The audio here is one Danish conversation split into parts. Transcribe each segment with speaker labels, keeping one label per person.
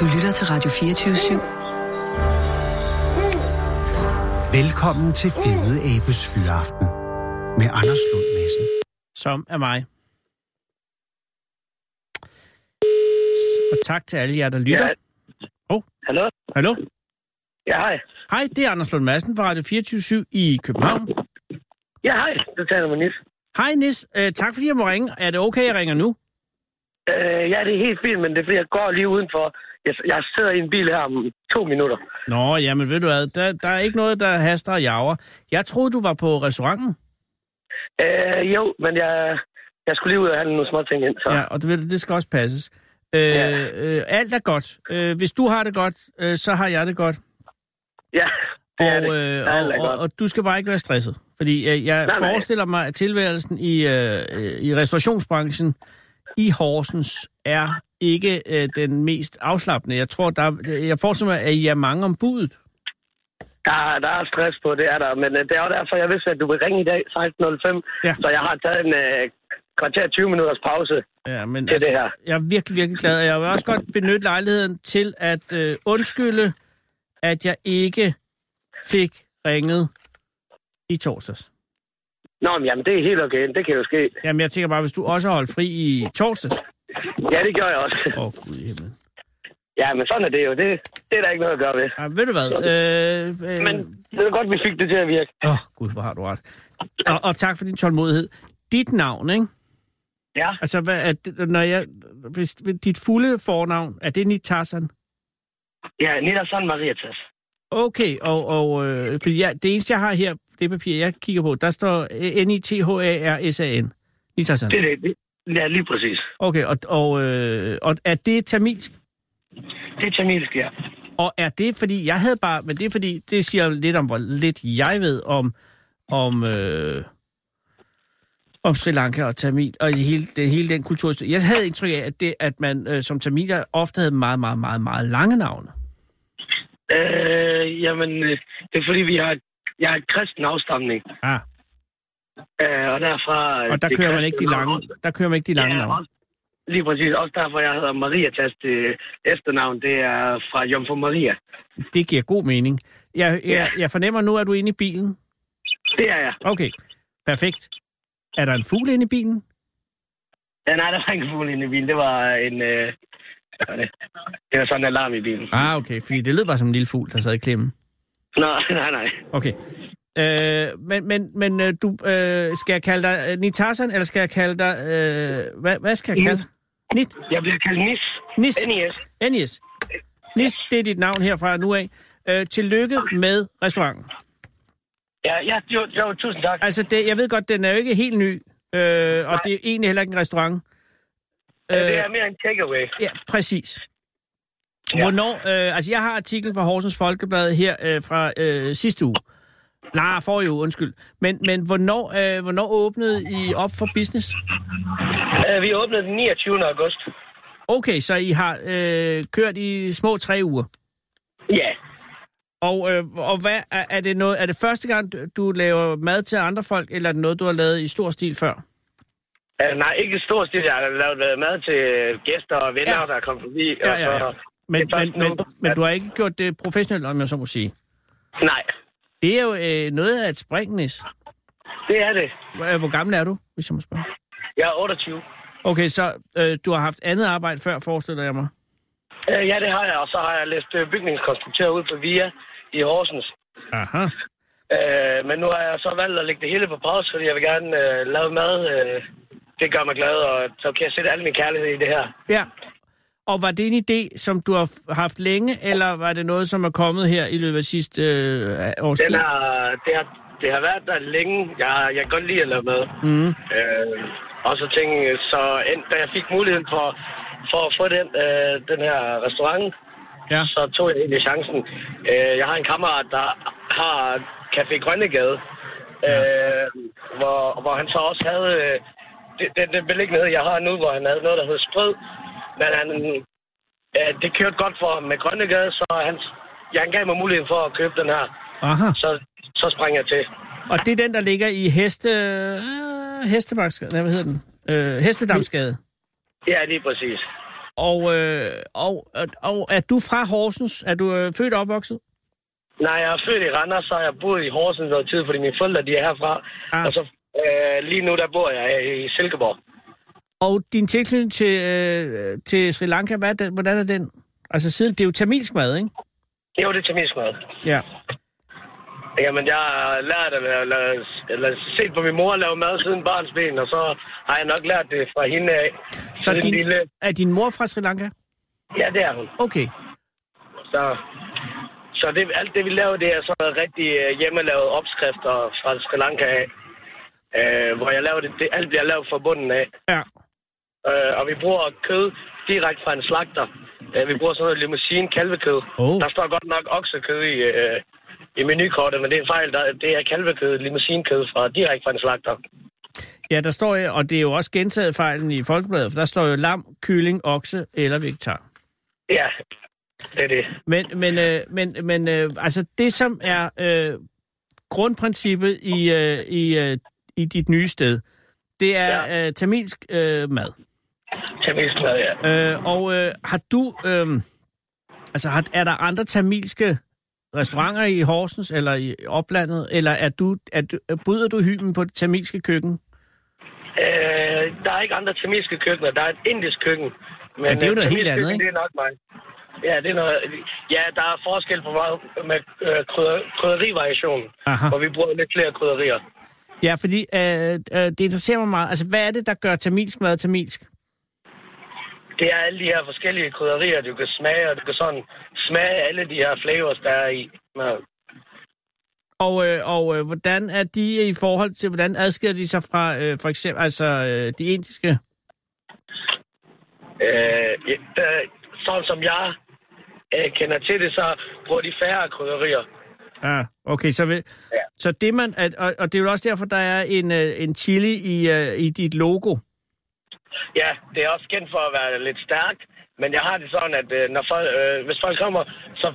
Speaker 1: Du lytter til Radio 24 /7.
Speaker 2: Velkommen til Fede Abes Fyraften med Anders Lund Madsen.
Speaker 3: som er mig. Og tak til alle jer, der lytter.
Speaker 4: Ja.
Speaker 3: Hov.
Speaker 4: Hallo?
Speaker 3: Hallo?
Speaker 4: Ja, hej.
Speaker 3: Hej, det er Anders Lund Madsen fra Radio 24 i København.
Speaker 4: Ja, hej. Du taler med Nis.
Speaker 3: Hej Nis, øh, tak fordi jeg må ringe. Er det okay, jeg ringer nu?
Speaker 4: Øh, ja, det er helt fint, men det er fordi, jeg går lige udenfor. Jeg, jeg sidder i en bil her om to minutter.
Speaker 3: Nå, jamen ved du hvad, der, der er ikke noget, der haster og jager. Jeg troede, du var på restauranten,
Speaker 4: Øh, jo, men jeg, jeg skulle lige ud og handle nogle små ting ind, så...
Speaker 3: ja, og det, ved du, det skal også passes. Øh,
Speaker 4: Ja.
Speaker 3: øh, alt er godt. Øh, hvis du har det godt, øh, så har jeg det godt.
Speaker 4: ja det er
Speaker 3: Og,
Speaker 4: det.
Speaker 3: øh,
Speaker 4: Alt er
Speaker 3: og, og,
Speaker 4: godt.
Speaker 3: og du skal bare ikke være stresset. Fordi jeg, jeg
Speaker 4: Nej, nej.
Speaker 3: forestiller mig, at tilværelsen i, øh, øh, i restaurationsbranchen i Horsens er ikke øh, den mest afslappende. Jeg tror, der, er- jeg forestiller mig, at I er mange om budet.
Speaker 4: Der, der er stress på, det er der. Men øh, det er jo derfor, jeg vidste, at du vil ringe i dag 16.05.
Speaker 3: Ja.
Speaker 4: Så jeg har taget en øh, kvarter 20 minutters pause.
Speaker 3: Ja, men altså,
Speaker 4: Det er det her.
Speaker 3: jeg er virkelig, virkelig glad, og jeg vil også godt benytte lejligheden til at øh, undskylde, at jeg ikke fik ringet i torsdags.
Speaker 4: Nå, men jamen, det er helt okay. Det kan jo ske.
Speaker 3: Jamen, jeg tænker bare, hvis du også har holdt fri i torsdags.
Speaker 4: Ja, det gør jeg også.
Speaker 3: Åh, oh, gud i himlen.
Speaker 4: Ja, men sådan er det jo. Det, det er der ikke noget at gøre ved.
Speaker 3: Ej, ved du hvad? Øh, øh,
Speaker 4: Men det er godt, vi fik det til at virke.
Speaker 3: Åh, oh, gud, hvor har du ret. Og, og tak for din tålmodighed. Dit navn, ikke?
Speaker 4: Ja.
Speaker 3: Altså, hvad er det, når jeg, hvis, hvis dit fulde fornavn, er det Nitasan?
Speaker 4: Ja, Nina San Mariatas.
Speaker 3: Okay, og, og øh, fordi jeg, det eneste, jeg har her, det papir, jeg kigger på, der står øh, N-I-T-H-A-R-S-A-N. Nitasan.
Speaker 4: Det er det. Ja, lige præcis.
Speaker 3: Okay, og, og, øh, og er det tamilsk?
Speaker 4: Det er tamilsk, ja.
Speaker 3: Og er det fordi, jeg havde bare, men det er fordi, det siger lidt om, hvor lidt jeg ved om, om, øh, om Sri Lanka og Tamil, og i hele, den, hele den kultur. Jeg havde indtryk af, at, det, at man øh, som tamiler ofte havde meget, meget, meget, meget lange navne.
Speaker 4: Øh, jamen, øh, det er fordi, vi har, jeg har en kristen afstamning.
Speaker 3: Ah,
Speaker 4: Øh, og derfra... øh,
Speaker 3: og der
Speaker 4: det
Speaker 3: kører man
Speaker 4: kristne
Speaker 3: ikke de
Speaker 4: navn.
Speaker 3: lange, der kører man ikke de lange
Speaker 4: Ja,
Speaker 3: navne.
Speaker 4: også, lige præcis. Også derfor, jeg hedder Mariatas. Det efternavn, det er fra Jomfru Maria.
Speaker 3: Det giver god mening. Jeg, jeg, jeg fornemmer nu, at du er inde i bilen.
Speaker 4: Det er jeg.
Speaker 3: Okay, perfekt. Er der en fugl inde i bilen?
Speaker 4: Ja, nej, der var ikke en fugl inde i bilen. Det var en... Øh, hvad var det? det var sådan en alarm i bilen.
Speaker 3: Ah, okay, fordi det lød bare som en lille fugl, der sad i klemmen.
Speaker 4: Nå, nej, nej.
Speaker 3: Okay. Øh, men men, men øh, du, øh, skal jeg kalde dig øh, Nitasan, eller skal jeg kalde dig... Øh, hvad, hvad skal jeg kalde dig? Nit,
Speaker 4: Jeg bliver kaldt Nis.
Speaker 3: Nis,
Speaker 4: NIS.
Speaker 3: Nis. Nis, det er dit navn herfra nu af. Øh, tillykke med restauranten.
Speaker 4: Ja, ja jo, jo, tusind tak.
Speaker 3: Altså, det, jeg ved godt, den er jo ikke helt ny, øh, og det er egentlig heller ikke en restaurant.
Speaker 4: Øh, det er mere en takeaway.
Speaker 3: Ja, præcis.
Speaker 4: Ja.
Speaker 3: Hvornår, øh, altså jeg har artiklen fra Horsens Folkeblad her øh, fra øh, sidste uge. Nej, for jo, undskyld. Men, men hvornår, øh, hvornår åbnede I op for business?
Speaker 4: Øh, vi åbnede den 29. august.
Speaker 3: Okay, så I har øh, kørt i små tre uger.
Speaker 4: Ja.
Speaker 3: Og, øh, og hvad, er, er, det noget, er det første gang, du- du laver mad til andre folk, eller er det noget, du har lavet i stor stil før?
Speaker 4: Øh, nej, ikke et stort stil. Jeg har lavet øh, mad til gæster og venner, ja. der kom forbi.
Speaker 3: Ja,
Speaker 4: og
Speaker 3: ja, ja.
Speaker 4: så-
Speaker 3: Men,
Speaker 4: Det er
Speaker 3: men,
Speaker 4: først nu,
Speaker 3: men, men
Speaker 4: at-
Speaker 3: du har ikke gjort det professionelt, om jeg så må sige.
Speaker 4: Nej,
Speaker 3: Det er jo øh, noget af et spring, Nis.
Speaker 4: det er det.
Speaker 3: Hvor hvor gammel er du, hvis jeg må spørge?
Speaker 4: Jeg er 28.
Speaker 3: Okay, så øh, du har haft andet arbejde før, forestiller jeg mig.
Speaker 4: Øh, ja, det har jeg. Og så har jeg læst øh, bygningskonstruktør ud på VIA i Horsens.
Speaker 3: Aha.
Speaker 4: Øh, men nu har jeg så valgt at lægge det hele på pause, fordi jeg vil gerne øh, lave mad. Øh, det gør mig glad, og så kan jeg sætte al min kærlighed i det her.
Speaker 3: Ja. Og var det en idé, som du har f- haft længe, eller var det noget, som er kommet her i løbet af sidste øh, års tid?
Speaker 4: Den har, det, har, det har været der længe. Jeg, jeg kan godt lide at lave mad. Mm. Øh, og så tænkte jeg, så end, da jeg fik muligheden for, for at få den, øh, den her restaurant,
Speaker 3: Ja.
Speaker 4: så tog jeg egentlig chancen. Øh, jeg har en kammerat, der har Café Grønnegade, øh, hvor, hvor han så også havde øh, det- den, den beliggenhed, jeg har nu, hvor han havde noget, der hed Sprød. Men han, øh, det kørte godt for ham med Grønnegade, så han, ja, han gav mig muligheden for at købe den her
Speaker 3: Aha.
Speaker 4: så, så sprang jeg til.
Speaker 3: Og det er den, der ligger i heste... Øh, Hestebaksgade, nej, hvad hedder den? Øh, Hestedamsgade.
Speaker 4: Ja, lige præcis.
Speaker 3: Og, øh, og, og, og er du fra Horsens? Er du øh, født og opvokset?
Speaker 4: Nej, jeg er født i Randers, så har jeg boet i Horsens noget tid, fordi mine forældre, de er herfra.
Speaker 3: Ah.
Speaker 4: Ah. Og så øh, lige nu, der bor jeg i Silkeborg.
Speaker 3: Og din tilknytning til, øh, til Sri Lanka, hvad er den, hvordan er den? Altså siden, det er jo tamilsk mad, ikke?
Speaker 4: Det er jo det tamilsk mad.
Speaker 3: Ja.
Speaker 4: Jamen, jeg har lært at lave, eller, eller set på min mor lave mad siden barns ben, og så har jeg nok lært det fra hende af.
Speaker 3: Så
Speaker 4: Siden
Speaker 3: din,
Speaker 4: lille...
Speaker 3: er din mor fra Sri Lanka?
Speaker 4: Ja, det er hun.
Speaker 3: Okay.
Speaker 4: Så, så det, alt det, vi laver, det er sådan noget rigtig øh, hjemmelavede opskrifter fra Sri Lanka af. Øh, hvor jeg laver det, det, alt bliver lavet fra bunden af.
Speaker 3: Ja.
Speaker 4: Øh, og vi bruger kød direkte fra en slagter. Øh, vi bruger sådan noget limousine kalvekød.
Speaker 3: Oh.
Speaker 4: Der står godt nok oksekød i, øh, i menukortet, men det er en fejl. Der, det er kalvekød, limousinekød fra, direkte fra en slagter.
Speaker 3: Ja, der står, øh, og det er jo også gentaget fejlen i Folkebladet, for der står jo lam, kylling, okse eller vegetar.
Speaker 4: Ja, det er det.
Speaker 3: Men, men, øh, men, men øh, altså det, som er øh, grundprincippet i, øh, i, øh, i dit nye sted, det er øh, tamilsk øh, mad.
Speaker 4: Tamilsk mad, ja.
Speaker 3: Øh, og øh, har du... Øh, altså, har, er der andre tamilske restauranter i Horsens eller i oplandet, eller er du, er du, bryder du hymen på det tamilske køkken?
Speaker 4: Øh, der er ikke andre tamilske køkkener. Der er et indisk køkken. Men
Speaker 3: Ja, det er jo
Speaker 4: øh,
Speaker 3: noget helt
Speaker 4: tamilsk
Speaker 3: andet,
Speaker 4: køkken,
Speaker 3: ikke?
Speaker 4: Det er nok mig. Ja, det er noget, ja, der er forskel på meget med øh, krydder, krydderivariationen,
Speaker 3: Aha.
Speaker 4: hvor vi bruger lidt flere krydderier.
Speaker 3: Ja, fordi øh, øh, det interesserer mig meget. Altså, hvad er det, der gør tamilsk mad tamilsk?
Speaker 4: Det er alle de her forskellige krydderier, du kan smage, og du kan sådan smage alle de her flavors, der er i. Øh, maden.
Speaker 3: Og, øh, og øh, hvordan er de i forhold til, hvordan adskiller de sig fra øh, for eksempel altså, øh, de indiske?
Speaker 4: Øh, ja, der- sådan som jeg øh, kender til det, så bruger de færre krydderier.
Speaker 3: Ja, okay, så, ved, ja.
Speaker 4: Ja.
Speaker 3: så det man, at, og, og det er jo også derfor, der er en, øh, en chili i, øh, i dit logo.
Speaker 4: Ja, det er også kendt for at være lidt stærk, men jeg har det sådan, at øh, når folk, øh, hvis folk kommer, så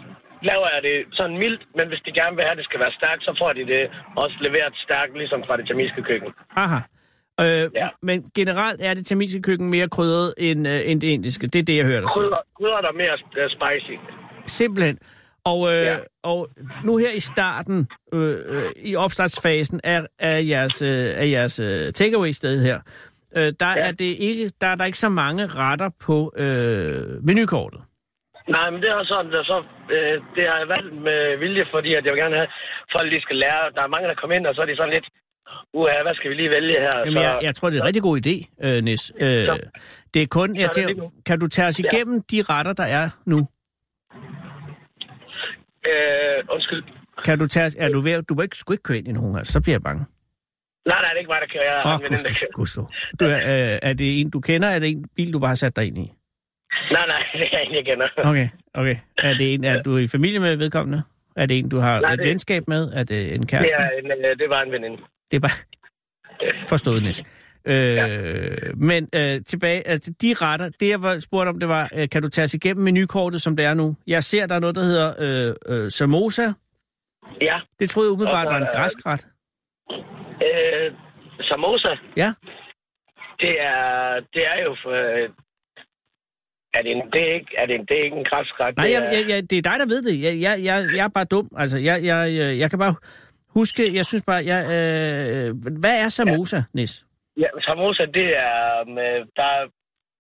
Speaker 4: laver jeg det sådan mildt, men hvis de gerne vil have, at det skal være stærkt, så får de det også leveret stærkt, ligesom fra det tamilske køkken.
Speaker 3: Aha. Øh, ja.
Speaker 4: Ja.
Speaker 3: Men generelt er det tamilske køkken mere krydret end, øh, end det indiske. Det er det, jeg hører dig sige.
Speaker 4: Krydder, krydder der er mere øh, spicy.
Speaker 3: Simpelthen. Og, øh, ja.
Speaker 4: Ja.
Speaker 3: og nu her i starten, øh, øh, i opstartsfasen af, af jeres, øh, af jeres øh, takeaway-sted her, øh, der, ja. er det ikke, der er der ikke så mange retter på øh, menukortet.
Speaker 4: Nej, men det er også sådan, der så, øh, det har jeg valgt med vilje, fordi at jeg vil gerne have, at folk lige skal lære. Der er mange, der kommer ind, og så er de sådan lidt, uha, hvad skal vi lige vælge her?
Speaker 3: Jamen,
Speaker 4: så,
Speaker 3: jeg, jeg tror, det er en rigtig god idé, øh, Nis. Øh,
Speaker 4: Så-
Speaker 3: det er kun, jeg
Speaker 4: det lige
Speaker 3: tænker,
Speaker 4: nu.
Speaker 3: kan du tage os igennem de retter, der er nu?
Speaker 4: øh, undskyld.
Speaker 3: Kan du tage, er du ved, du må ikke, sgu ikke køre ind i nogen, altså, så bliver jeg bange.
Speaker 4: Nej, nej, det er ikke mig, der kører. Jeg
Speaker 3: Åh,
Speaker 4: har en veninde, der kører.
Speaker 3: oh, du er, øh, er det en, du kender, eller er det en bil, du bare har sat dig ind i?
Speaker 4: Nej, nej, det er en, jeg kender.
Speaker 3: Okay, okay. Er det en, er du i familie med vedkommende? Er det en, du har
Speaker 4: Nej,
Speaker 3: et
Speaker 4: det-
Speaker 3: venskab med? Er det en
Speaker 4: Det,
Speaker 3: kæreste?
Speaker 4: er en, øh, det var en veninde.
Speaker 3: Det er bare forstået, Niels. Øh, ja. Men øh, tilbage, altså, de retter, det jeg var spurgt om, det var, øh, kan du tage os igennem menukortet, som det er nu? Jeg ser, der er noget, der hedder øh, øh, samosa.
Speaker 4: Ja,
Speaker 3: Det troede jeg umiddelbart
Speaker 4: Og så
Speaker 3: var en
Speaker 4: er der-
Speaker 3: græsk ret.
Speaker 4: øh, samosa,
Speaker 3: Ja,
Speaker 4: det er, det er jo... For, øh, er det, en, det, er ikke, er det, en, det er ikke en øh, græskret.
Speaker 3: nej,
Speaker 4: det
Speaker 3: jeg,
Speaker 4: er,
Speaker 3: jeg, jeg, det er dig, der ved det. Jeg, jeg, jeg, jeg er bare dum. Altså, jeg, jeg, jeg, jeg kan bare huske, jeg synes bare, jeg, øh, hvad er samosa, ja. Nis?
Speaker 4: Ja, samosa, det er... Med, der er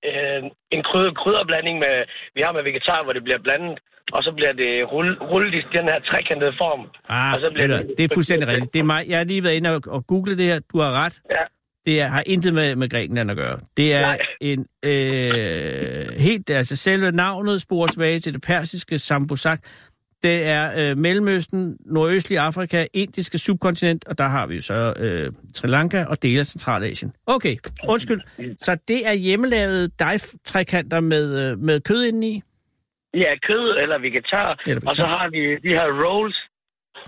Speaker 4: øh, en krydder, krydderblanding, med, vi har med vegetar, hvor det bliver blandet. Og så bliver det rull- rullet i den her trekantede form.
Speaker 3: Ah,
Speaker 4: Og så bliver
Speaker 3: det,
Speaker 4: det-
Speaker 3: det er fuldstændig rigtigt. Det er mig. Jeg har lige været inde og, og google det her. Du har ret.
Speaker 4: Ja.
Speaker 3: Det er, har intet med, med Grækenland at gøre. Det er Nej.
Speaker 4: Nej.
Speaker 3: en øh, helt, altså selve navnet sporer tilbage til det persiske sambusak. Det er øh, Mellemøsten, nordøstlig Afrika, indiske subkontinent, og der har vi jo så øh, Sri Lanka og dele af Centralasien. Okay, undskyld. Så det er hjemmelavede dejf-trekanter med, øh, med kød indeni?
Speaker 4: Ja, kød eller vegetar.
Speaker 3: Eller
Speaker 4: Og så
Speaker 3: vegetar.
Speaker 4: har vi de her rolls,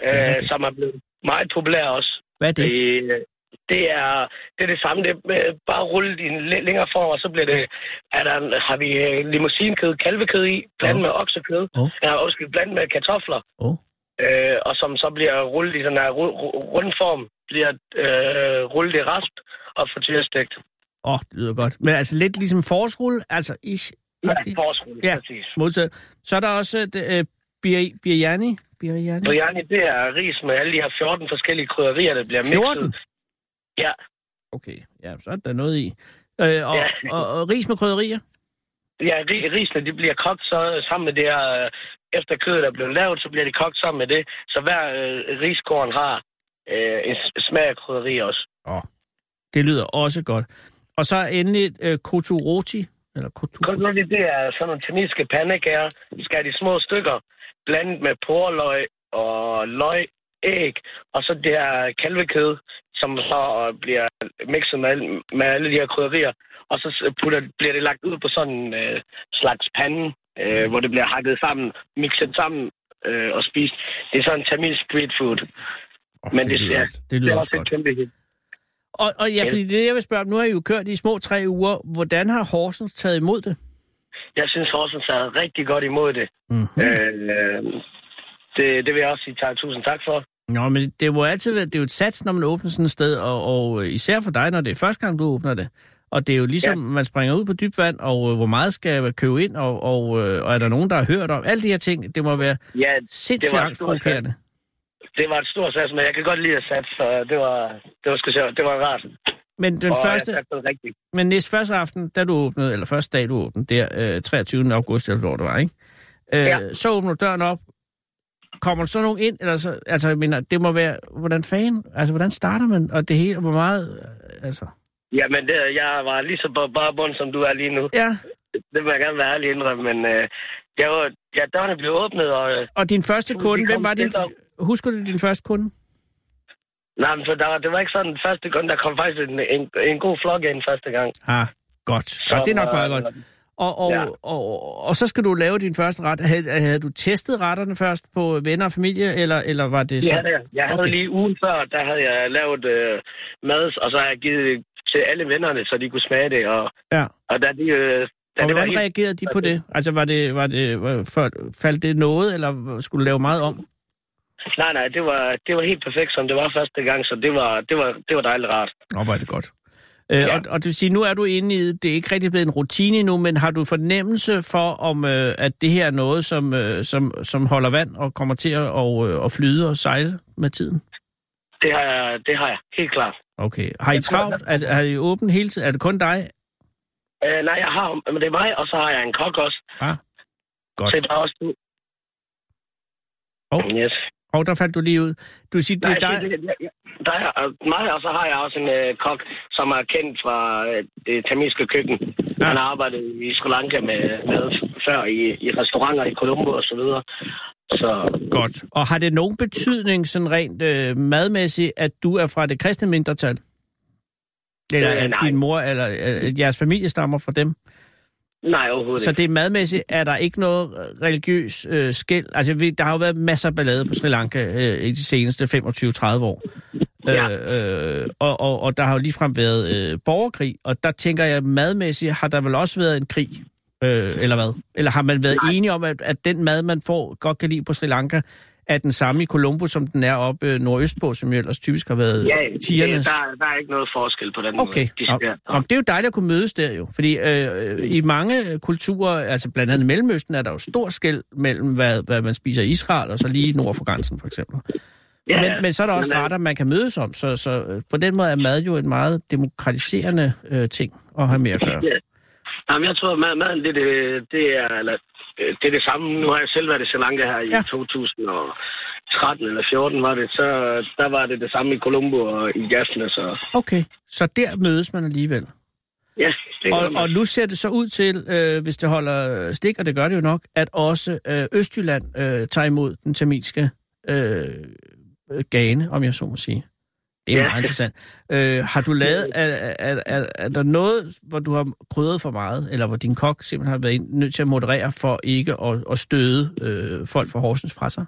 Speaker 4: øh,
Speaker 3: Ja,
Speaker 4: ja,
Speaker 3: det-
Speaker 4: som er blevet meget populære også.
Speaker 3: Hvad er det?
Speaker 4: Det, det, er, det er det samme. Det er øh, bare rullet i en lidt længere form, og så bliver det, er der, en- har vi øh, limousinkød, kalvekød i, blandet
Speaker 3: Åh.
Speaker 4: oh. med oksekød,
Speaker 3: Åh.
Speaker 4: oh. ja, undskyld, blandet med kartofler,
Speaker 3: Åh.
Speaker 4: øh, og som så bliver rullet i den her ru- ru- rund form, bliver øh, rullet i rasp og frityrestegt.
Speaker 3: Åh, oh, det lyder godt. Men altså lidt ligesom forårsrulle, altså ish, agtig?
Speaker 4: Forskrulle,
Speaker 3: Ja.
Speaker 4: ja. præcis.
Speaker 3: Modtaget. Så er der også øh, det, øh, bir, biryani. biryani.
Speaker 4: Biryani, det er ris med alle de her 14 forskellige krydderier, der bliver mixet.
Speaker 3: 14?
Speaker 4: Ja,
Speaker 3: Okay, ja, så er der noget i. Øh, og,
Speaker 4: Ja.
Speaker 3: og, og, ris med krydderier.
Speaker 4: ja ri- risene de bliver kogt så sammen med det her... øh, Efter kødet er blevet lavet, så bliver det kogt sammen med det. Så hver øh, riskorn har øh, en s- smag af krydderi også.
Speaker 3: Det lyder også godt. Og så endelig øh, koturoti. Eller kotur.
Speaker 4: Krydderi, det er sådan nogle tunisiske pandekager. Skærer de små stykker, blandet med porløg og løg, æg, og så det her kalvekød, som så øh, bliver mixet med, al- med alle de her krydderier. Og så s- putter, bliver det lagt ud på sådan en øh, slags pande, øh, hvor det bliver hakket sammen, mixet sammen øh, og spist. Det er sådan tamilsk street food.
Speaker 5: Oh,
Speaker 4: Men det
Speaker 5: lyder
Speaker 4: ser-
Speaker 5: også-
Speaker 3: Det lyder
Speaker 4: det er
Speaker 3: også
Speaker 4: et
Speaker 3: godt.
Speaker 4: kæmpe hit.
Speaker 3: Og, og ja, fordi det er det, jeg vil spørge om. Nu har I jo kørt i små tre uger. Hvordan har Horsens taget imod det?
Speaker 4: Jeg synes, Horsens er rigtig godt imod det.
Speaker 3: Mm-hmm.
Speaker 4: Øh, det, det vil jeg også sige tak, tusind tak for.
Speaker 3: Nå, men det må altid være, det er jo et sats, når man åbner sådan et sted, og, og øh, især for dig, når det er første gang, du åbner det. Og det er jo ligesom, ja. man springer ud på dybt vand, og øh, hvor meget skal man købe ind, og, og, øh, og er der nogen, der har hørt om? Alle de her ting, det må være
Speaker 4: Ja,
Speaker 3: sindssygt
Speaker 4: Det var en stor
Speaker 3: angstprovokerende.
Speaker 4: det var et stort sats, men jeg kan godt lide at satse, så det var, det var, sgu sjovt. det var rart.
Speaker 3: Men den
Speaker 4: og
Speaker 3: første,
Speaker 4: jeg satte rigtigt.
Speaker 3: men næste første aften, da du åbnede, eller første dag, du åbnede, der øh, 23. august, eller hvor det var, ikke? Øh,
Speaker 4: Ja.
Speaker 3: Så åbner du døren op. Kommer der så nogen ind? Eller så, altså, jeg mener, det må være, hvordan fanden, altså, hvordan starter man? Og det hele, hvor meget, øh, altså...
Speaker 4: Jamen, det, jeg var lige så på bare bund, som du er lige nu.
Speaker 3: Ja,
Speaker 4: Det vil jeg gerne være ærlig indrømme, men øh, jeg var, ja, dørene blev åbnet, og øh,
Speaker 3: Og din første
Speaker 4: Vi
Speaker 3: kunde,
Speaker 4: kom
Speaker 3: hvem var din...
Speaker 4: tæt op.
Speaker 3: Husker du din første kunde?
Speaker 4: nej, men, så der, var- det var ikke sådan den første gang, der kom faktisk en, en, en god flok ind første gang.
Speaker 3: Ah, godt. Så, det er nok meget godt. Og, og,
Speaker 4: ja.
Speaker 3: og, og, og så skal du lave din første ret. Havde, havde du testet retterne først på venner og familie, eller, eller var det
Speaker 4: Ja,
Speaker 3: sådan?
Speaker 4: det er. jeg havde
Speaker 3: Okay.
Speaker 4: okay. lige ugen før, der havde jeg lavet øh, mad, og så har jeg givet det til alle vennerne, så de kunne smage det, og,
Speaker 3: Ja.
Speaker 4: og da de... Øh, da
Speaker 3: Og
Speaker 4: det var
Speaker 3: hvordan
Speaker 4: helt
Speaker 3: reagerede de på det? Altså, var det, var det, var, for- faldt det noget, eller skulle du lave meget om?
Speaker 4: Nej, nej, det var, det var helt perfekt, som det var første gang, så det var, det var, det var dejligt rart.
Speaker 3: Nå, var det godt. Øh,
Speaker 4: Ja.
Speaker 3: og, og det vil sige, nu er du inde i, det er ikke rigtig blevet en rutine endnu, men har du fornemmelse for, om øh, at det her er noget, som, øh, som, som holder vand og kommer til at og, øh, at flyde og sejle med tiden?
Speaker 4: Det har jeg, det har jeg helt klart.
Speaker 3: Okay. Har I
Speaker 4: Jeg tror,
Speaker 3: travlt? Er, er I åben hele tiden? Er det kun dig?
Speaker 4: Øh, nej, jeg har, men det er mig, og så har jeg en kok også.
Speaker 3: Godt.
Speaker 4: Så det var også du.
Speaker 3: Hov.
Speaker 4: Yes.
Speaker 3: Og der faldt du lige ud. Du siger, det
Speaker 4: Nej,
Speaker 3: er dig.
Speaker 4: det- det- det- Der er øh, mig, og så har jeg også en øh, kok, som er kendt fra øh, det tamilske køkken.
Speaker 3: Ja.
Speaker 4: Han har arbejdet i Sri Lanka med mad før i, i restauranter i Colombo og så videre. Så
Speaker 3: Godt. Og har det nogen betydning, sådan rent øh, madmæssigt, at du er fra det kristne mindretal? Eller
Speaker 4: Øh,
Speaker 3: at
Speaker 4: nej.
Speaker 3: din mor eller øh, at jeres familie stammer fra dem?
Speaker 4: nej, overhovedet
Speaker 3: Så
Speaker 4: ikke.
Speaker 3: det er madmæssigt, er der ikke noget religiøs øh, skæld? Altså, vi, der har jo været masser af ballade på Sri Lanka øh, i de seneste 25-30 år.
Speaker 4: Ja.
Speaker 3: Øh, øh, og, og, og der har jo ligefrem været øh, borgerkrig, og der tænker jeg, madmæssigt har der vel også været en krig, øh, eller hvad? Eller har man været Nej. enige om, at, at den mad, man får, godt kan lide på Sri Lanka, er den samme i Colombo, som den er oppe øh, nordøstpå, som jo ellers typisk har været
Speaker 4: Ja,
Speaker 3: tigernes?
Speaker 4: det, der, der er ikke noget forskel på den
Speaker 3: Okay.
Speaker 4: måde. De
Speaker 3: Nå,
Speaker 4: siger-
Speaker 3: nå, det er jo dejligt at kunne mødes der jo, fordi øh, øh, i mange kulturer, altså blandt andet i Mellemøsten, er der jo stor skæld mellem, hvad, hvad man spiser i Israel, og så lige nord for grænsen for eksempel.
Speaker 4: Ja,
Speaker 3: men, men så er der også
Speaker 4: men, øh,
Speaker 3: retter, man kan mødes om, så, så øh, på den måde er mad jo en meget demokratiserende øh, ting at have med at gøre.
Speaker 4: Ja. Jamen, jeg tror, at mad, maden, det, er det, det, er, eller, øh, det er det samme. Nu har jeg selv været i Sri Lanka her
Speaker 3: Ja.
Speaker 4: i 2013 eller 14 var det. Så øh, der var det det samme i Colombo og i Jasna, så...
Speaker 3: Okay, så der mødes man alligevel.
Speaker 4: Ja, det
Speaker 3: Og,
Speaker 4: gør
Speaker 3: og
Speaker 4: man.
Speaker 3: nu ser det så ud til, øh, hvis det holder stik, og det gør det jo nok, at også øh, Østjylland øh, tager imod den tamilske øh, øh, gane, om jeg så må sige. Det er
Speaker 4: Ja.
Speaker 3: meget interessant. Øh, har du lavet, er, er, er, er der noget, hvor du har krydret for meget, eller hvor din kok simpelthen har været nødt til at moderere for ikke at, at støde øh, folk fra Horsens fra sig?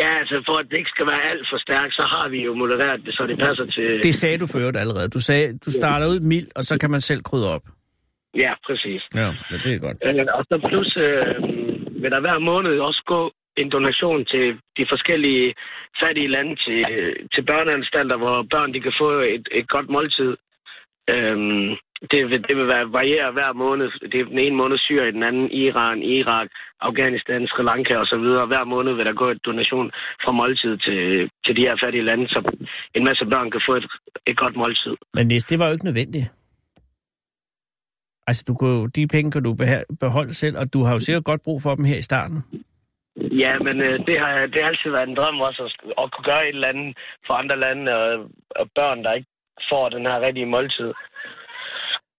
Speaker 4: Ja, altså for at det ikke skal være alt for stærkt, så har vi jo modereret det, så det passer til...
Speaker 3: Det sagde du før allerede. Du sagde, du starter ud mildt, og så kan man selv krydre op.
Speaker 4: Ja, præcis.
Speaker 3: Ja, det er godt.
Speaker 4: Øh, og så plus øh, vil der hver måned også gå en donation til de forskellige fattige lande, til, til børneanstalter, hvor børn de kan få et, et godt måltid. Øhm, Det vil, det vil være, variere hver måned. Det er den ene måned Syrien, den anden Iran, Irak, Afghanistan, Sri Lanka osv. Hver måned vil der gå et donation fra måltid til, til de her fattige lande, så en masse børn kan få et, et godt måltid.
Speaker 3: Men Nis, det var jo ikke nødvendigt. Altså, du kunne, jo- de penge kan du beha- beholde selv, og du har jo sikkert godt brug for dem her i starten.
Speaker 4: Ja, men øh, det, har, det har altid været en drøm også at, at kunne gøre et eller andet for andre lande og, og børn, der ikke får den her rigtige måltid.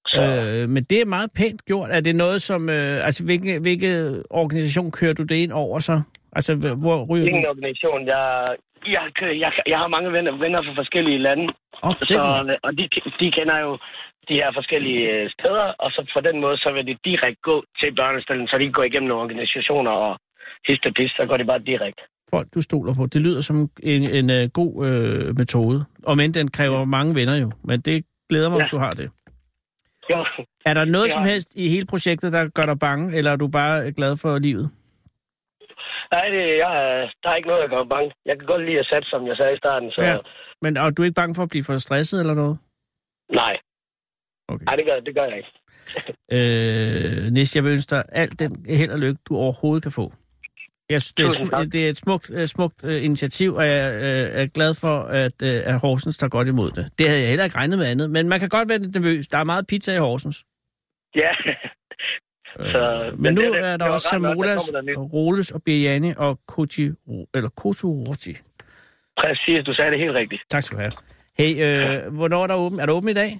Speaker 4: Så, øh.
Speaker 3: Øh, men det er meget pænt gjort. Er det noget, som... Øh, altså, hvilke, hvilke organisation kører du det ind over så? Altså, hv- hvor ryger
Speaker 4: Ingen
Speaker 3: du?
Speaker 4: organisation. Jeg, jeg, kan- jeg, kan- jeg har mange venner, venner fra forskellige lande,
Speaker 3: Op, den,
Speaker 4: så, øh, og de, de kender jo de her forskellige øh, steder, og så på den måde, så vil de direkte gå til børnestallen, så de ikke går igennem nogle organisationer og hist og pist, så går de bare direkte.
Speaker 3: folk, du stoler på. Det lyder som en, en øh, god øh, metode. Og men den kræver mange venner jo. Men det glæder mig, ja.
Speaker 4: Ja.
Speaker 3: hvis du har det.
Speaker 4: Jo.
Speaker 3: Er der noget
Speaker 4: Ja.
Speaker 3: som helst i hele projektet, der gør dig bange, eller er du bare glad for livet?
Speaker 4: Nej, det, jeg, er- der er ikke noget, jeg gør bange. Jeg kan godt lide at satse, som jeg sagde i starten, så
Speaker 3: Ja.
Speaker 4: ja.
Speaker 3: Men og du er ikke bange for at blive for stresset eller noget?
Speaker 4: nej.
Speaker 3: Okay.
Speaker 4: Nej, det gør, det gør jeg ikke.
Speaker 3: Øh, Nis, jeg vil ønske dig alt den held og lykke, du overhovedet kan få. Jeg synes, det, er,
Speaker 4: Tusind
Speaker 3: sm-
Speaker 4: tak.
Speaker 3: det er et smukt, øh, smukt øh, initiativ, og jeg øh, er glad for, at, øh, at Horsens tager godt imod det. Det havde jeg heller ikke regnet med andet, men man kan godt være lidt nervøs. Der er meget pizza i Horsens.
Speaker 4: Ja. Så,
Speaker 3: Øh, Men, men nu
Speaker 4: det- det-
Speaker 3: er der
Speaker 4: det var
Speaker 3: også
Speaker 4: rart nok, der
Speaker 3: Samulas,
Speaker 4: kommer der nyt.
Speaker 3: Roles og Biryani og Koji, eller Koto Roti.
Speaker 4: Præcis, du sagde det helt rigtigt.
Speaker 3: Tak skal du have. Hey, øh, hvornår er der åben? Er der åben i dag?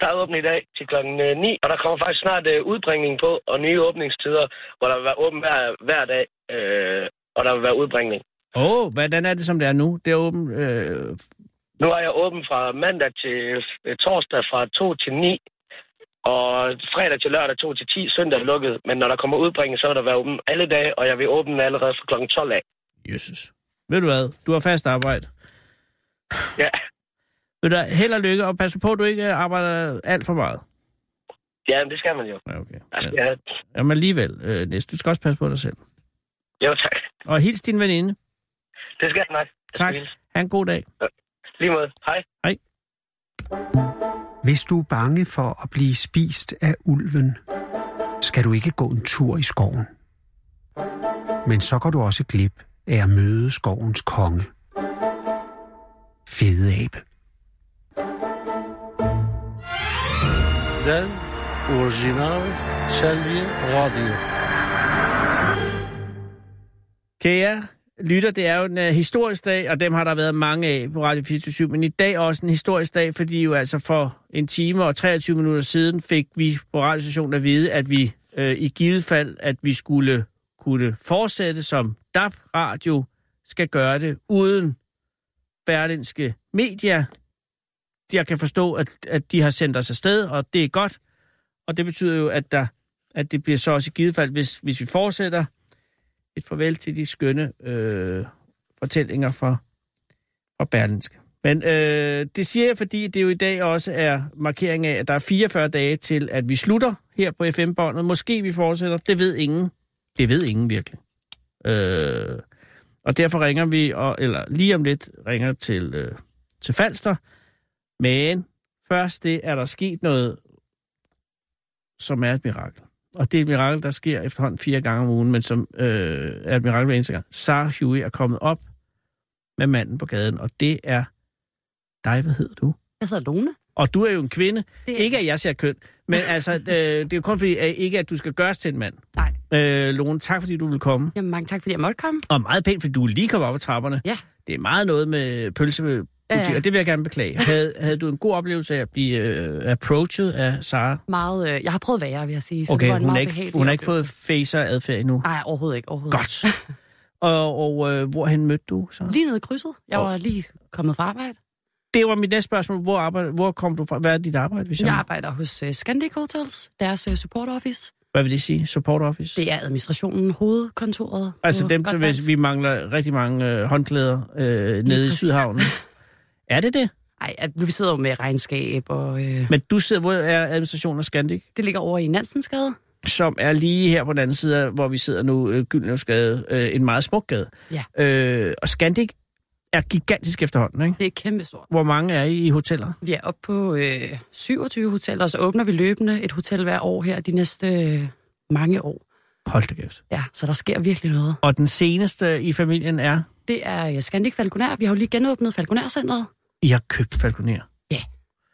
Speaker 4: Der er åbent i dag til klokken 9, og der kommer faktisk snart øh, udbringning på, og nye åbningstider, hvor der vil være åbent hver, hver dag, øh, og der vil være udbringning.
Speaker 3: Åh, oh, hvordan er det, som det er nu? Det er åben... Øh,
Speaker 4: Nu er jeg åben fra mandag til øh, torsdag fra 2 til 9, og fredag til lørdag 2 til 10, søndag er lukket. Men når der kommer udbringning, så vil der være åben alle dage, og jeg vil åbne allerede fra klokken 12 af.
Speaker 3: Jesus. Ved du hvad? Du har fast arbejde.
Speaker 4: Ja,
Speaker 3: Ved du, hvad? held og lykke, og pas på, at du ikke arbejder alt for meget.
Speaker 4: ja men det skal man jo.
Speaker 3: Ja, okay.
Speaker 4: Altså,
Speaker 3: Ja.
Speaker 4: ja.
Speaker 3: Jamen alligevel, øh, Nis, du skal også passe på dig selv.
Speaker 4: Jo, tak.
Speaker 3: Og hils din veninde.
Speaker 4: Det skal jeg nok.
Speaker 3: Tak. Ha' en god dag.
Speaker 4: Lige måde. Hej.
Speaker 2: Hvis du er bange for at blive spist af ulven, skal du ikke gå en tur i skoven. Men så går du også glip af at møde skovens konge. Fede abe.
Speaker 5: Den orijinal Selvi Radio.
Speaker 3: Kære lytter, det er jo en uh, historisk dag, og dem har der været mange af på Radio 24 men i dag er også en historisk dag, fordi jo altså for en time og 23 minutter siden fik vi på radiostationen at vide, at vi øh, i givet fald, at vi skulle kunne fortsætte som DAB Radio skal gøre det uden berlinske medier. Jeg kan forstå, at, at de har sendt os afsted, og det er godt. Og det betyder jo, at, der, at det bliver så også i givet fald, hvis, hvis vi fortsætter, et farvel til de skønne øh, fortællinger fra, fra Berlinske. Men øh, det siger jeg, fordi det jo i dag også er markering af, at der er 44 dage til, at vi slutter her på FM-båndet. Måske vi fortsætter. Det ved ingen. Det ved ingen virkelig. Øh, og derfor ringer vi, og, eller lige om lidt ringer til, øh, til Falster. Men først det er der sket noget, som er et mirakel. Og det er et mirakel, der sker efterhånden fire gange om ugen, men som øh, er et mirakel hver eneste gang. Sarah Huey er kommet op med manden på gaden, og det er dig, hvad hedder du?
Speaker 6: Jeg hedder Lone.
Speaker 3: Og du er jo en kvinde.
Speaker 6: Det er-
Speaker 3: Ikke at jeg ser køn, men altså, øh, det er jo kun fordi, at ikke at du skal gøres til en mand.
Speaker 6: Nej.
Speaker 3: Øh, Lone, tak fordi du vil komme.
Speaker 6: Jamen, mange tak, fordi jeg måtte komme.
Speaker 3: Og meget pænt, fordi du er lige kommet op ad trapperne.
Speaker 6: Ja.
Speaker 3: Det er meget noget med pølsebutik,
Speaker 6: Ja, ja.
Speaker 3: og det vil jeg gerne beklage. Havde, havde du en god oplevelse af at blive øh, approached af Sara?
Speaker 6: Meget, øh, jeg har prøvet værre, vil jeg sige. Så det
Speaker 3: Okay,
Speaker 6: var en
Speaker 3: hun har
Speaker 6: meget
Speaker 3: ikke,
Speaker 6: behagelig
Speaker 3: hun har ikke fået
Speaker 6: oplevelse.
Speaker 3: facer-adfærd endnu.
Speaker 6: Nej, overhovedet ikke. Overhovedet
Speaker 3: Godt. Og, og øh, hvorhen mødte du så?
Speaker 6: ikke. Lige nede i krydset. Jeg var lige kommet fra arbejde.
Speaker 3: Det var mit næste spørgsmål. Hvor, arbejde, hvor kom du fra? Hvad er dit arbejde? Hvis jeg...
Speaker 6: Jeg arbejder hos øh, Scandic Hotels, deres øh, support office.
Speaker 3: Hvad vil det sige? Support office?
Speaker 6: Det er administrationen, hovedkontoret.
Speaker 3: altså
Speaker 6: på
Speaker 3: dem, som,
Speaker 6: Gotland.
Speaker 3: hvis vi mangler rigtig mange øh, håndklæder øh, nede i
Speaker 6: præcis.
Speaker 3: Sydhavnen. er det det?
Speaker 6: Ej, at vi sidder jo med regnskab, og øh,
Speaker 3: Men du sidder, hvor er administrationen af Scandic?
Speaker 6: det ligger over i Nansensgade.
Speaker 3: Som er lige her på den anden side, af, hvor vi sidder nu, øh, Gyldenløvsgade, øh, en meget smuk gade.
Speaker 6: Ja.
Speaker 3: Øh, og Scandic er gigantisk efterhånden, ikke?
Speaker 6: Det er kæmpestort.
Speaker 3: Hvor mange er I i hoteller?
Speaker 6: Vi er oppe på øh, 27 hoteller, og så åbner vi løbende et hotel hver år her de næste øh, mange år.
Speaker 3: Hold da kæft.
Speaker 6: Ja, så der sker virkelig noget.
Speaker 3: Og den seneste i familien er,
Speaker 6: Det er øh, Scandic Falconer. Vi har jo lige genåbnet Falconer-centret,
Speaker 3: I har købt Falconer.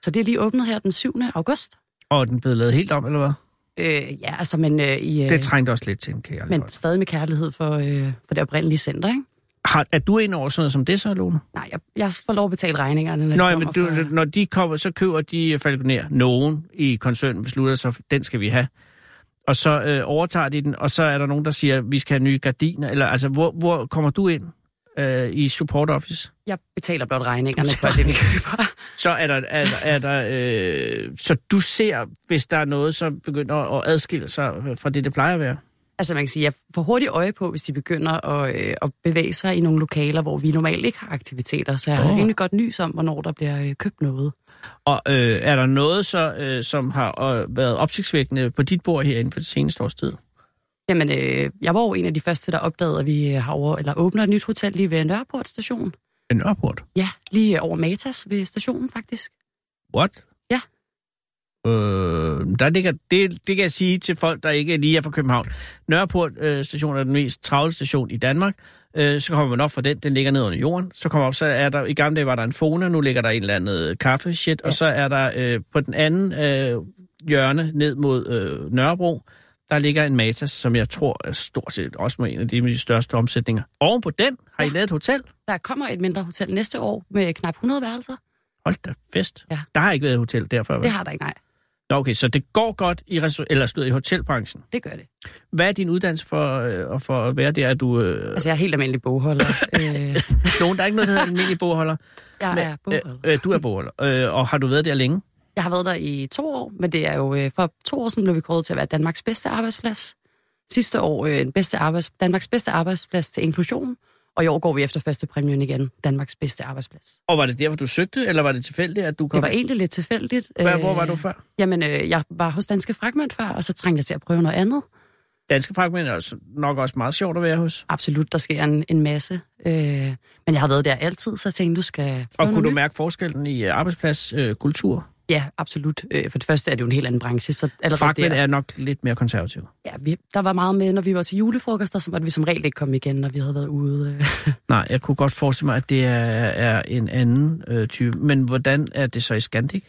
Speaker 6: så det er lige åbnet her den 7. august.
Speaker 3: Og er den blevet lavet helt om, eller hvad?
Speaker 6: Øh, ja, altså, men, øh, i, øh,
Speaker 3: Det trængte også lidt til, kan jeg men...
Speaker 6: men stadig med kærlighed for, øh, for det oprindelige center, ikke?
Speaker 3: Har, er du ind over sådan noget som det så, Lone?
Speaker 6: Nej, jeg, jeg får lov at betale regningerne, når
Speaker 3: Nå,
Speaker 6: de
Speaker 3: ja, men
Speaker 6: kommer
Speaker 3: du,
Speaker 6: fra...
Speaker 3: når de kommer, så køber de Falconer. Nogen i koncernen beslutter sig, den skal vi have. Og så øh, overtager de den, og så er der nogen, der siger, vi skal have nye gardiner. Eller altså, hvor, hvor kommer du ind øh, i support office?
Speaker 6: Jeg betaler blot regningerne for det, vi køber.
Speaker 3: Så er der, er, der- er der øh, så du ser, hvis der er noget, som begynder at adskille sig fra det, det plejer at være.
Speaker 6: Altså man kan sige, jeg får hurtigt øje på, hvis de begynder at, øh, at bevæge sig i nogle lokaler, hvor vi normalt ikke har aktiviteter. Så jeg har
Speaker 3: Åh.
Speaker 6: rimelig godt nys om, hvornår der bliver øh, købt noget.
Speaker 3: Og øh, er der noget, så, øh, som har øh, været opsigtsvækkende på dit bord herinde for det seneste års tid?
Speaker 6: Jamen, øh, jeg var jo en af de første, der opdagede, at vi øh, har over, eller åbner et nyt hotel lige ved Nørreport station.
Speaker 3: En Nørreport?
Speaker 6: Ja, lige øh, over Matas ved stationen faktisk.
Speaker 3: What?
Speaker 6: Ja.
Speaker 3: Øh, der ligger, det, det kan jeg sige til folk, der ikke lige er fra København. Nørreport øh, station er den mest travle station i Danmark. Øh, så kommer man op fra den, den ligger ned under jorden. Så kommer op, så er der, i gamle dage var der en Fona, nu ligger der en eller anden øh, kaffe shit, ja. og så er der øh, på den anden øh, hjørne ned mod øh, Nørrebro, der ligger en Matas, som jeg tror er stort set også med en af de, de største omsætninger. Oven på den har I lavet et hotel.
Speaker 6: Der kommer et mindre hotel næste år med knap 100 værelser.
Speaker 3: Hold da fest.
Speaker 6: Ja.
Speaker 3: Der har ikke været et hotel derfor.
Speaker 6: Det har der ikke, nej.
Speaker 3: Nå, okay, så det går godt i, restau- eller slutter, i hotelbranchen.
Speaker 6: Det gør det.
Speaker 3: Hvad er din uddannelse for, øh, og for at være der? Er du øh,
Speaker 6: Altså, jeg er helt almindelig bogholder. øh,
Speaker 3: nogen? Der er ikke noget, der hedder almindelig bogholder.
Speaker 6: jeg er
Speaker 3: Øh,
Speaker 6: bogholder.
Speaker 3: øh, du er bogholder. Øh, og har du været der længe?
Speaker 6: Jeg har været der i to år, men det er jo øh, for to år siden blev vi kåret til at være Danmarks bedste arbejdsplads. Sidste år øh, den bedste arbejds, Danmarks bedste arbejdsplads til inklusion, og i år går vi efter første præmien igen, Danmarks bedste arbejdsplads.
Speaker 3: Og var det derfor, du søgte, eller var det tilfældigt, at du kom?
Speaker 6: Det var egentlig lidt tilfældigt.
Speaker 3: Hvad,
Speaker 6: Øh,
Speaker 3: hvor var du før?
Speaker 6: Jamen, øh, jeg var hos Danske Fragmænd før, og så trængte jeg til at prøve noget andet.
Speaker 3: Danske fragmænd er altså nok også meget sjovt at være hos.
Speaker 6: Absolut, der sker en, en masse. Øh, men jeg har været der altid, så jeg tænkte, du skal prøve
Speaker 3: Og
Speaker 6: noget
Speaker 3: kunne du
Speaker 6: nyt.
Speaker 3: mærke forskellen i øh, arbejdspladskultur? Øh, kultur?
Speaker 6: Ja, absolut. Øh, for det første er det jo en helt anden branche, så allerede
Speaker 3: fragmænd
Speaker 6: der...
Speaker 3: er nok lidt mere konservative.
Speaker 6: Ja, vi, der var meget med, når vi var til julefrokoster, så måtte vi som regel ikke komme igen, når vi havde været ude. øh.
Speaker 3: Nej, jeg kunne godt forestille mig, at det er, er en anden øh, type. Men hvordan er det så i Scandic?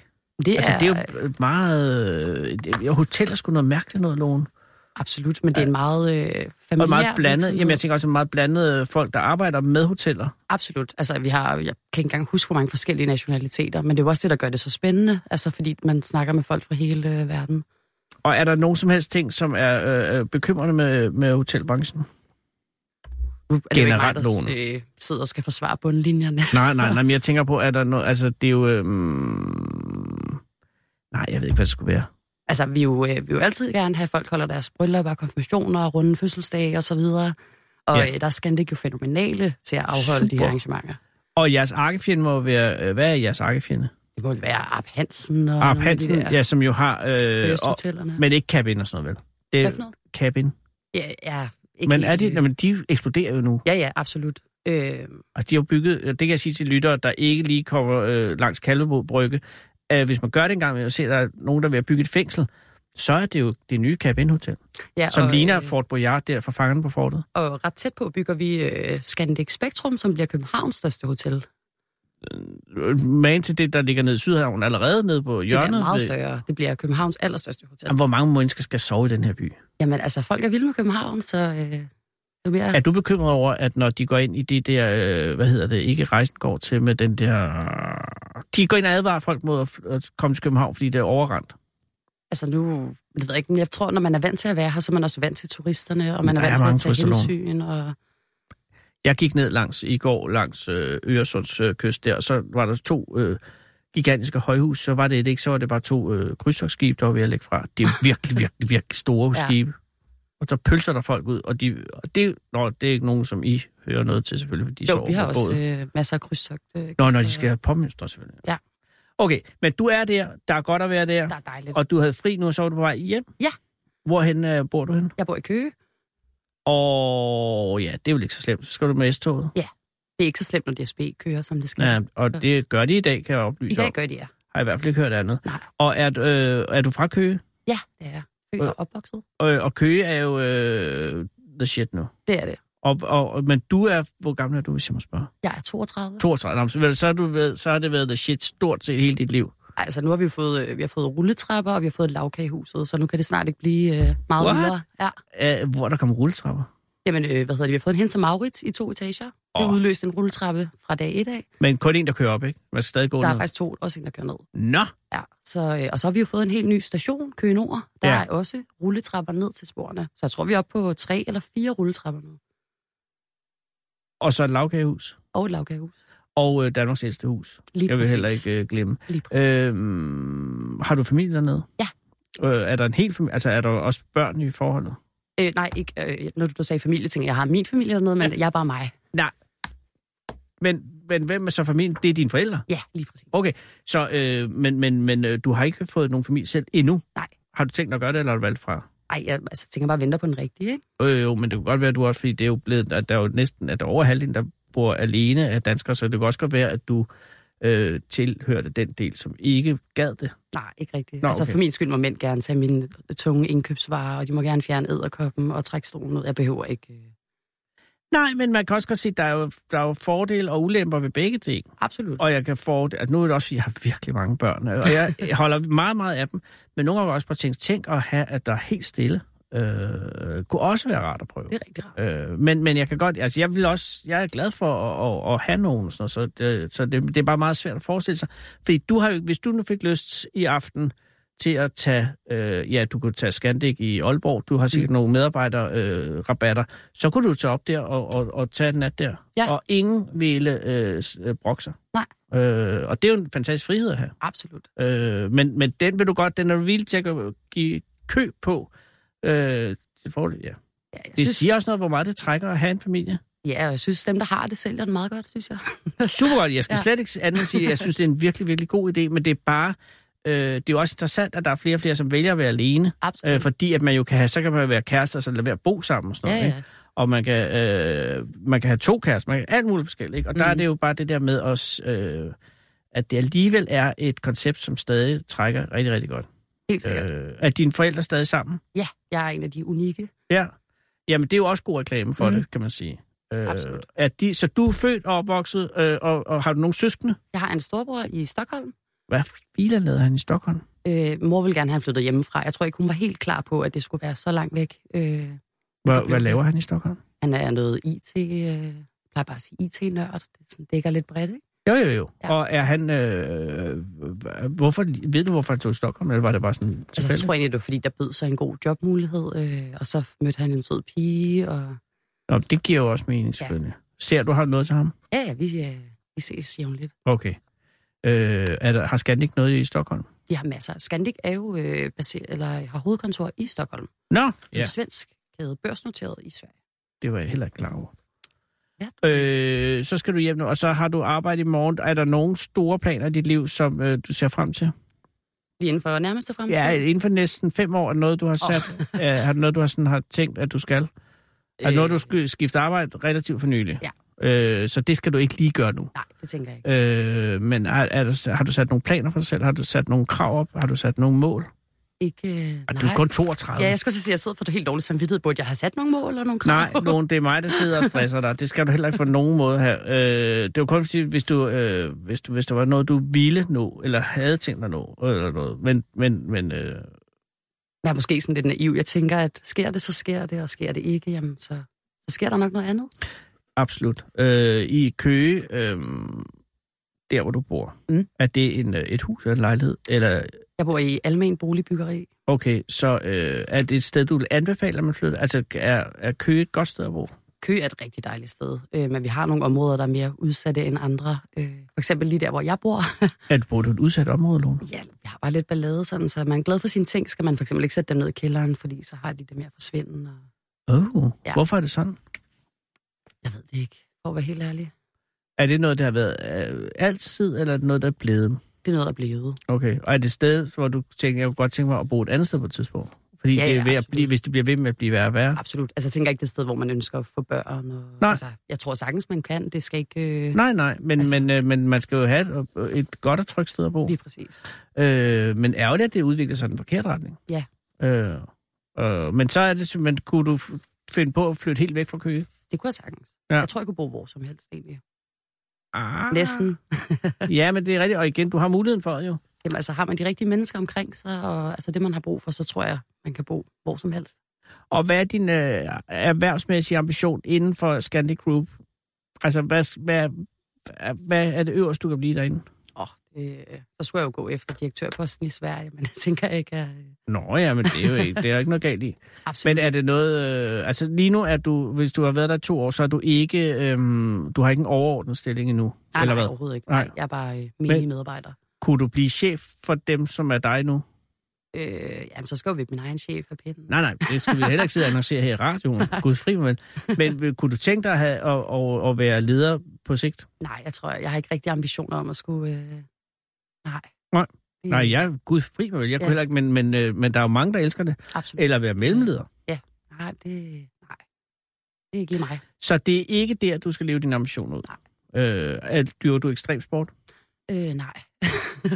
Speaker 6: Det,
Speaker 3: Altså, det er jo øh, meget... øh, det- Hotel er sgu noget mærkeligt noget, Lone.
Speaker 6: Absolut, men det er en meget øh, familiær
Speaker 3: Og meget blandet.
Speaker 6: virksomhed.
Speaker 3: Jamen, jeg tænker også, at meget blandet øh, folk, der arbejder med hoteller.
Speaker 6: Absolut. Altså, vi har, jeg kan ikke engang huske, hvor mange forskellige nationaliteter, men det er jo også det, der gør det så spændende, altså fordi man snakker med folk fra hele øh, verden.
Speaker 3: Og er der nogen som helst ting, som er øh, øh, bekymrende med, med hotelbranchen?
Speaker 6: Nu er det jo ikke mig,
Speaker 3: Generelt
Speaker 6: der
Speaker 3: nogen.
Speaker 6: øh, sidder og skal forsvare bundlinjerne.
Speaker 3: Nej, nej, nej, men jeg tænker på, er der noget... Altså, det er jo... Øh, mm, nej, jeg ved ikke, hvad det skulle være.
Speaker 6: Altså, vi, er jo, øh, vi vil jo altid gerne have, at folk holder deres bryllupper, og konfirmationer, og runde fødselsdage og så videre. Og
Speaker 3: Ja.
Speaker 6: ja. øh, der er Scandic jo fænomenale til at afholde Super. de
Speaker 3: Super.
Speaker 6: her arrangementer.
Speaker 3: Og jeres arkefjende må jo være... Øh, hvad er jeres arkefjende?
Speaker 6: Det må være Arp Hansen og
Speaker 3: Arp Hansen,
Speaker 6: nogle af de der
Speaker 3: ja, som jo har... Øh, og,
Speaker 6: kørestotellerne.
Speaker 3: men ikke cabin og sådan noget, vel? Det
Speaker 6: Hvad for noget?
Speaker 3: cabin.
Speaker 6: Ja, ja, ikke
Speaker 3: Men
Speaker 6: helt,
Speaker 3: er det,
Speaker 6: øh,
Speaker 3: jamen, de eksploderer jo nu.
Speaker 6: Ja, ja, absolut. Øh,
Speaker 3: Altså, de har jo bygget, og det kan jeg sige til lyttere, der ikke lige kommer øh, langs Kalvebod Brygge. Øh, hvis man gør det engang, og ser, at der er nogen, der vil have bygget et fængsel, så er det jo det nye Cap Inn Hotel,
Speaker 6: ja,
Speaker 3: ja, som
Speaker 6: og,
Speaker 3: ligner
Speaker 6: øh,
Speaker 3: Fort Boyard der fra fangerne på fortet.
Speaker 6: Og ret tæt på bygger vi øh, Scandic Spektrum, som bliver Københavns største hotel. Det
Speaker 3: Øh, Man til det, der ligger nede i Sydhavn, allerede nede på hjørnet.
Speaker 6: bliver meget
Speaker 3: ved-
Speaker 6: større. Det bliver Københavns allerstørste hotel.
Speaker 3: Jamen, hvor mange mennesker skal sove i den her by?
Speaker 6: Jamen altså, folk er vilde med København, så øh, jo mere...
Speaker 3: Er du bekymret over, at når de går ind i det der, øh, hvad hedder det, ikke rejsen går til med den der... De går ind og advarer folk mod at, f- at komme til København, fordi det er overrendt.
Speaker 6: Altså nu, det ved jeg ikke, men jeg tror, når man er vant til at være her, så er man også vant til turisterne, og man
Speaker 3: Der
Speaker 6: er vant
Speaker 3: er
Speaker 6: til
Speaker 3: mange
Speaker 6: at tage
Speaker 3: turister,
Speaker 6: hensyn, og
Speaker 3: Jeg gik ned langs i går langs øh, Øresunds øh, kyst der, og så var der to øh, gigantiske højhus, så var det et ikke, så var det bare to øh, krydstogsskibe, der var ved at lægge fra. Det er virkelig, virkelig, virkelig store ja.
Speaker 6: Ja.
Speaker 3: skibe. Og så pølser der folk ud, og, de, og det, nå, det er ikke nogen, som I hører noget til selvfølgelig, fordi de
Speaker 6: jo,
Speaker 3: sover
Speaker 6: vi har
Speaker 3: på
Speaker 6: også
Speaker 3: båden.
Speaker 6: øh, masser af krydstogt. Øh,
Speaker 3: Nå, når
Speaker 6: gæster.
Speaker 3: de skal have påmønstre selvfølgelig.
Speaker 6: Ja.
Speaker 3: Okay, men du er der, der er godt at være der,
Speaker 6: Der er dejligt.
Speaker 3: og du havde fri nu, og så var du på vej hjem?
Speaker 6: Ja.
Speaker 3: Hvorhen øh, bor du hen?
Speaker 6: Jeg bor i Køge.
Speaker 3: Og ja, det er vel ikke så slemt, så skal du med S-toget?
Speaker 6: Ja. Det er ikke så slemt, når DSB kører, som det skal.
Speaker 3: Ja, og det gør de i dag, kan jeg oplyse
Speaker 6: I dag
Speaker 3: om.
Speaker 6: gør de, ja.
Speaker 3: Har jeg i hvert fald ikke hørt andet.
Speaker 6: Nej.
Speaker 3: Og er, du- øh, er du fra Køge?
Speaker 6: Ja, det er jeg. Født og opvokset.
Speaker 3: Og, og Køge er jo øh, the shit nu.
Speaker 6: Det er det.
Speaker 3: Og, og, og- men du er, hvor gammel er du, hvis jeg må spørge?
Speaker 6: Jeg er 32.
Speaker 3: 32. Nå, men så, vel, så, har du været, så har det været the shit stort set hele dit liv.
Speaker 6: Altså, nu har vi jo fået, øh, vi har fået rulletrapper, og vi har fået lavkage i huset, så nu kan det snart ikke blive øh, meget
Speaker 3: What?
Speaker 6: vildere. Ja.
Speaker 3: Æh, hvor er der kom rulletrapper.
Speaker 6: Jamen, øh, hvad hedder det? Vi har fået en Hens og Maurits i to etager. Oh.
Speaker 3: Åh.
Speaker 6: Vi udløste en rulletrappe fra dag 1 af.
Speaker 3: Men kun en, der kører op, ikke? Man skal stadig gå
Speaker 6: Der er
Speaker 3: ned.
Speaker 6: faktisk to, også en, der kører ned.
Speaker 3: Nå!
Speaker 6: Ja, så, øh, og så har vi jo fået en helt ny station, Køge Nord. Der
Speaker 3: Ja.
Speaker 6: ja. er også rulletrapper ned til sporene. Så jeg tror, vi er oppe på tre eller fire rulletrapper nu.
Speaker 3: Og så et lavkagehus.
Speaker 6: Og et lavkagehus.
Speaker 3: Og øh, Danmarks ældste hus.
Speaker 6: Lige
Speaker 3: jeg vil
Speaker 6: præcis.
Speaker 3: heller ikke øh, glemme.
Speaker 6: Lige præcis.
Speaker 3: Øhm, har du familie dernede?
Speaker 6: Ja.
Speaker 3: Øh, er der en hel familie? Altså, er der også børn i forholdet?
Speaker 6: Øh, nej, ikke, øh, når du sagde familie, tænker jeg, jeg har min familie dernede, men jeg er bare mig.
Speaker 3: Nej. Men, men hvem er så familien? Det er dine forældre?
Speaker 6: Ja, lige præcis.
Speaker 3: Okay, så, øh, men, men, men øh, du har ikke fået nogen familie selv endnu?
Speaker 6: Nej.
Speaker 3: Har du tænkt dig at gøre det, eller har du valgt fra?
Speaker 6: Ej, jeg altså, tænker bare, venter på den rigtige, ikke?
Speaker 3: Øh, jo, men det kan godt være, at du også, fordi det er jo blevet, at der er jo næsten at der er over halvdelen, der bor alene af danskere, så det kan også godt være, at du øh, tilhørte den del, som ikke gad det.
Speaker 6: Nej, ikke rigtigt.
Speaker 3: Nå,
Speaker 6: Nå, altså,
Speaker 3: okay.
Speaker 6: for min skyld må mænd gerne tage mine tunge indkøbsvarer, og de må gerne fjerne æderkoppen og trække stolen ud. Jeg behøver ikke... Øh,
Speaker 3: Nej, men man kan også godt se, at der er jo, der er jo fordele og ulemper ved begge ting.
Speaker 6: absolut.
Speaker 3: Og jeg kan få... At nu er det også, fordi jeg har virkelig mange børn, og jeg holder meget, meget af dem. Men nogle gange har jeg også bare tænkt, tænk at have, at der er helt stille. Øh, kunne også være rart at prøve.
Speaker 6: Det er rigtig rart.
Speaker 3: Øh, men, men jeg kan godt, altså jeg vil også, jeg er glad for at, at, at have nogen, og sådan noget, så, det, så det, det er bare meget svært at forestille sig. Fordi du har jo, hvis du nu fik lyst i aften til at tage, øh, ja, du kunne tage Scandic i Aalborg, du har sikkert
Speaker 6: Mm.
Speaker 3: nogle medarbejderrabatter, øh, rabatter, så kunne du tage op der og, og, og tage en nat der.
Speaker 6: Ja.
Speaker 3: Og ingen ville øh, s- øh, brokke sig.
Speaker 6: Nej.
Speaker 3: Øh, og det er jo en fantastisk frihed at have.
Speaker 6: Absolut.
Speaker 3: Øh, men, men den vil du godt, den er du villig til at gå- give køb på. Øh, til fordel, ja.
Speaker 6: Ja, jeg
Speaker 3: Det siger også noget, hvor meget det trækker at have en familie.
Speaker 6: Ja, og jeg synes, dem, der har det, sælger den meget godt, synes
Speaker 3: Øh,
Speaker 6: jeg.
Speaker 3: Super godt. Jeg skal ja.
Speaker 6: Ja.
Speaker 3: slet ikke andet end sige, at jeg synes, det er en virkelig, virkelig god idé, men det er bare... Øh, det er jo også interessant, at der er flere og flere, som vælger at være alene.
Speaker 6: Absolut.
Speaker 3: Øh, fordi at man jo kan have, så kan man jo være kærester, så lade være at bo sammen og sådan
Speaker 6: Mm. ja,
Speaker 3: noget. Ikke?
Speaker 6: ja.
Speaker 3: Og man kan, øh, man kan have to kærester, man kan alt muligt forskelligt. Ikke? Og der er
Speaker 6: Mm.
Speaker 3: det jo bare det der med os, øh, at det alligevel er et koncept, som stadig trækker rigtig, rigtig godt.
Speaker 6: Helt sikkert.
Speaker 3: Øh, er dine forældre stadig sammen?
Speaker 6: Ja, jeg er en af de unikke.
Speaker 3: Ja. Jamen, det er jo også god reklame for mm.
Speaker 6: Mhm.
Speaker 3: det, kan man sige. Øh,
Speaker 6: Absolut.
Speaker 3: At de, så du er født og opvokset, øh, og, og har du nogle søskende?
Speaker 6: Jeg har en storbror i Stockholm.
Speaker 3: Hvad filen lavede han i Stockholm?
Speaker 6: Øh, mor ville gerne have flyttet hjemmefra. Jeg tror ikke, hun var helt klar på, at det skulle være så langt væk. Øh, Der
Speaker 3: Hvad,
Speaker 6: blev
Speaker 3: hvad
Speaker 6: det.
Speaker 3: laver han i Stockholm?
Speaker 6: han er noget IT... Øh, jeg plejer bare at sige IT-nørd. Det sådan dækker lidt bredt, ikke? Altså,
Speaker 3: Jo, jo, jo. Ja.
Speaker 6: Ja.
Speaker 3: Og er han... Øh, hvorfor, ved du, hvorfor han tog i Stockholm, eller var det bare sådan
Speaker 6: Altså, jeg
Speaker 3: tilfældigt?
Speaker 6: tror egentlig, det var, fordi der bød sig en god jobmulighed, øh, og så mødte han en sød pige, og
Speaker 3: Nå, det giver jo også mening, selvfølgelig. Ja. Ser du, har du noget til ham?
Speaker 6: ja, ja, vi, øh, vi ses jævnligt.
Speaker 3: Okay. Øh, er der, har Scandic noget i Stockholm?
Speaker 6: De har masser. Scandic er jo øh, baseret, eller har hovedkontor i Stockholm.
Speaker 3: Nå,
Speaker 6: Ja.
Speaker 3: ja,
Speaker 6: En svensk kæde, børsnoteret i Sverige.
Speaker 3: det var jeg heller ikke klar over.
Speaker 6: Ja.
Speaker 3: Øh, så skal du hjem nu, og så har du arbejde i morgen. Er der nogle store planer i dit liv, som øh, du ser frem til?
Speaker 6: Lige inden for nærmeste fremtid.
Speaker 3: Ja, inden for næsten fem år er noget, du har sat. Oh. er det noget, du har, sådan, har tænkt, at du skal? Er det noget, du skal skifte arbejde relativt for nylig?
Speaker 6: Øh. Ja.
Speaker 3: Øh, så det skal du ikke lige gøre nu.
Speaker 6: Nej, det tænker jeg ikke.
Speaker 3: Øh, men er, er der, har du sat nogle planer for dig selv? Har du sat nogle krav op? Har du sat nogle mål?
Speaker 6: Ikke, øh,
Speaker 3: Og
Speaker 6: nej.
Speaker 3: du er kun 32.
Speaker 6: Ja, jeg skulle så sige, at jeg sidder for det helt dårligt samvittighed. Burde jeg have sat nogle mål og nogle krav?
Speaker 3: Nej, nogen, det er mig, der sidder og stresser dig. Det skal du heller ikke på nogen måde her. Øh, det var kun fordi, hvis du, øh, hvis, du, hvis der var noget, du ville nå, eller havde tænkt dig nå, eller noget. Men, men, men øh,
Speaker 6: Jeg er måske sådan lidt naiv. Jeg tænker, at sker det, så sker det, og sker det ikke, jamen så, så sker der nok noget andet.
Speaker 3: Absolut. Øh, I Køge, øh, der hvor du bor, mm.
Speaker 6: Mm.
Speaker 3: er det en, øh, et hus eller en lejlighed? Eller,
Speaker 6: Jeg bor i almen boligbyggeri.
Speaker 3: okay, så øh, er det et sted, du vil anbefale, at man flytter? Altså, er, er Køge et godt sted at bo?
Speaker 6: Kø er et rigtig dejligt sted, øh, men vi har nogle områder, der er mere udsatte end andre. Øh, for eksempel lige der, hvor jeg bor.
Speaker 3: Er du bor du i et udsat område, Lone?
Speaker 6: ja, vi har bare lidt ballade, sådan, så er man glad for sine ting, skal man for eksempel ikke sætte dem ned i kælderen, fordi så har de det med at forsvinde. Og
Speaker 3: Oh, ja.
Speaker 6: Ja.
Speaker 3: Hvorfor er det sådan?
Speaker 6: jeg ved det ikke, for at være helt ærlig.
Speaker 3: Er det noget, der har været øh, altid, eller er det noget, der er blevet?
Speaker 6: Det er noget, der er blevet.
Speaker 3: Okay, og er det et sted, hvor du tænker, jeg kunne godt tænke mig at bo et andet sted på et tidspunkt? Fordi
Speaker 6: Ja,
Speaker 3: ja, det er
Speaker 6: ja,
Speaker 3: ved at
Speaker 6: absolut.
Speaker 3: blive, hvis det bliver ved med at blive værre og værre.
Speaker 6: Absolut. Altså, jeg tænker ikke det er et sted, hvor man ønsker at få børn. Og,
Speaker 3: Nej.
Speaker 6: Altså, jeg tror sagtens, man kan. Det skal ikke... Øh,
Speaker 3: Nej, nej, men,
Speaker 6: Altså-
Speaker 3: altså... men, øh, men man skal jo have et, øh, et godt og trygt sted at bo.
Speaker 6: Lige præcis.
Speaker 3: Øh, men ærgerligt, at det udvikler sig i den forkerte retning.
Speaker 6: Ja.
Speaker 3: Øh, øh, men så er det simpelthen, kunne du f- finde på at flytte helt væk fra Køge?
Speaker 6: Det kunne jeg sagtens.
Speaker 3: Ja.
Speaker 6: Ja. Jeg tror, jeg kunne bo hvor som helst, egentlig.
Speaker 3: Ah.
Speaker 6: Næsten.
Speaker 3: Ja, men det er rigtigt. Og igen, du har muligheden for det jo.
Speaker 6: Jamen, altså, har man de rigtige mennesker omkring sig, og altså, det, man har brug for, så tror jeg, man kan bo hvor som helst.
Speaker 3: Og hvad er din øh, erhvervsmæssige ambition inden for Scandic Group? Altså, hvad, hvad, hvad er det øverste, du kan blive derinde?
Speaker 6: Åh, øh, så skulle jeg jo gå efter direktørposten i Sverige, men det tænker jeg ikke er... Øh,
Speaker 3: Nå ja, men det er jo ikke, det er jo ikke noget galt i.
Speaker 6: absolut.
Speaker 3: Men er det noget... Øh, altså, lige nu er du... Hvis du har været der i to år, så er du ikke... Øh, du har ikke en overordnet stilling endnu.
Speaker 6: nej,
Speaker 3: eller
Speaker 6: nej,
Speaker 3: hvad?
Speaker 6: overhovedet ikke.
Speaker 3: Nej.
Speaker 6: Nej. Jeg er bare øh, menig medarbejder.
Speaker 3: Kunne du blive chef for dem, som er dig nu?
Speaker 6: Øh, jamen, så skal jeg jo vippe min egen chef af pinden.
Speaker 3: Nej, nej, det skal vi heller ikke sidde og annoncere her i radioen. Gud fri mig. vel. Men øh, kunne du tænke dig at, have, at, at, at være leder på sigt?
Speaker 6: Nej, jeg tror, jeg har ikke rigtig ambitioner om at skulle... Øh... Nej.
Speaker 3: Nej.
Speaker 6: Det-
Speaker 3: Nej, jeg, Gud fri mig vel. Jeg kunne
Speaker 6: Ja.
Speaker 3: heller ikke, men, men, øh, men der er jo mange, der elsker det.
Speaker 6: Absolut.
Speaker 3: Eller være mellemleder.
Speaker 6: Nej, det... Nej. Det er ikke lige mig.
Speaker 3: Så det er ikke der, du skal leve din ambition ud. Øh, at dyrker du ekstrem sport?
Speaker 6: Øh, nej.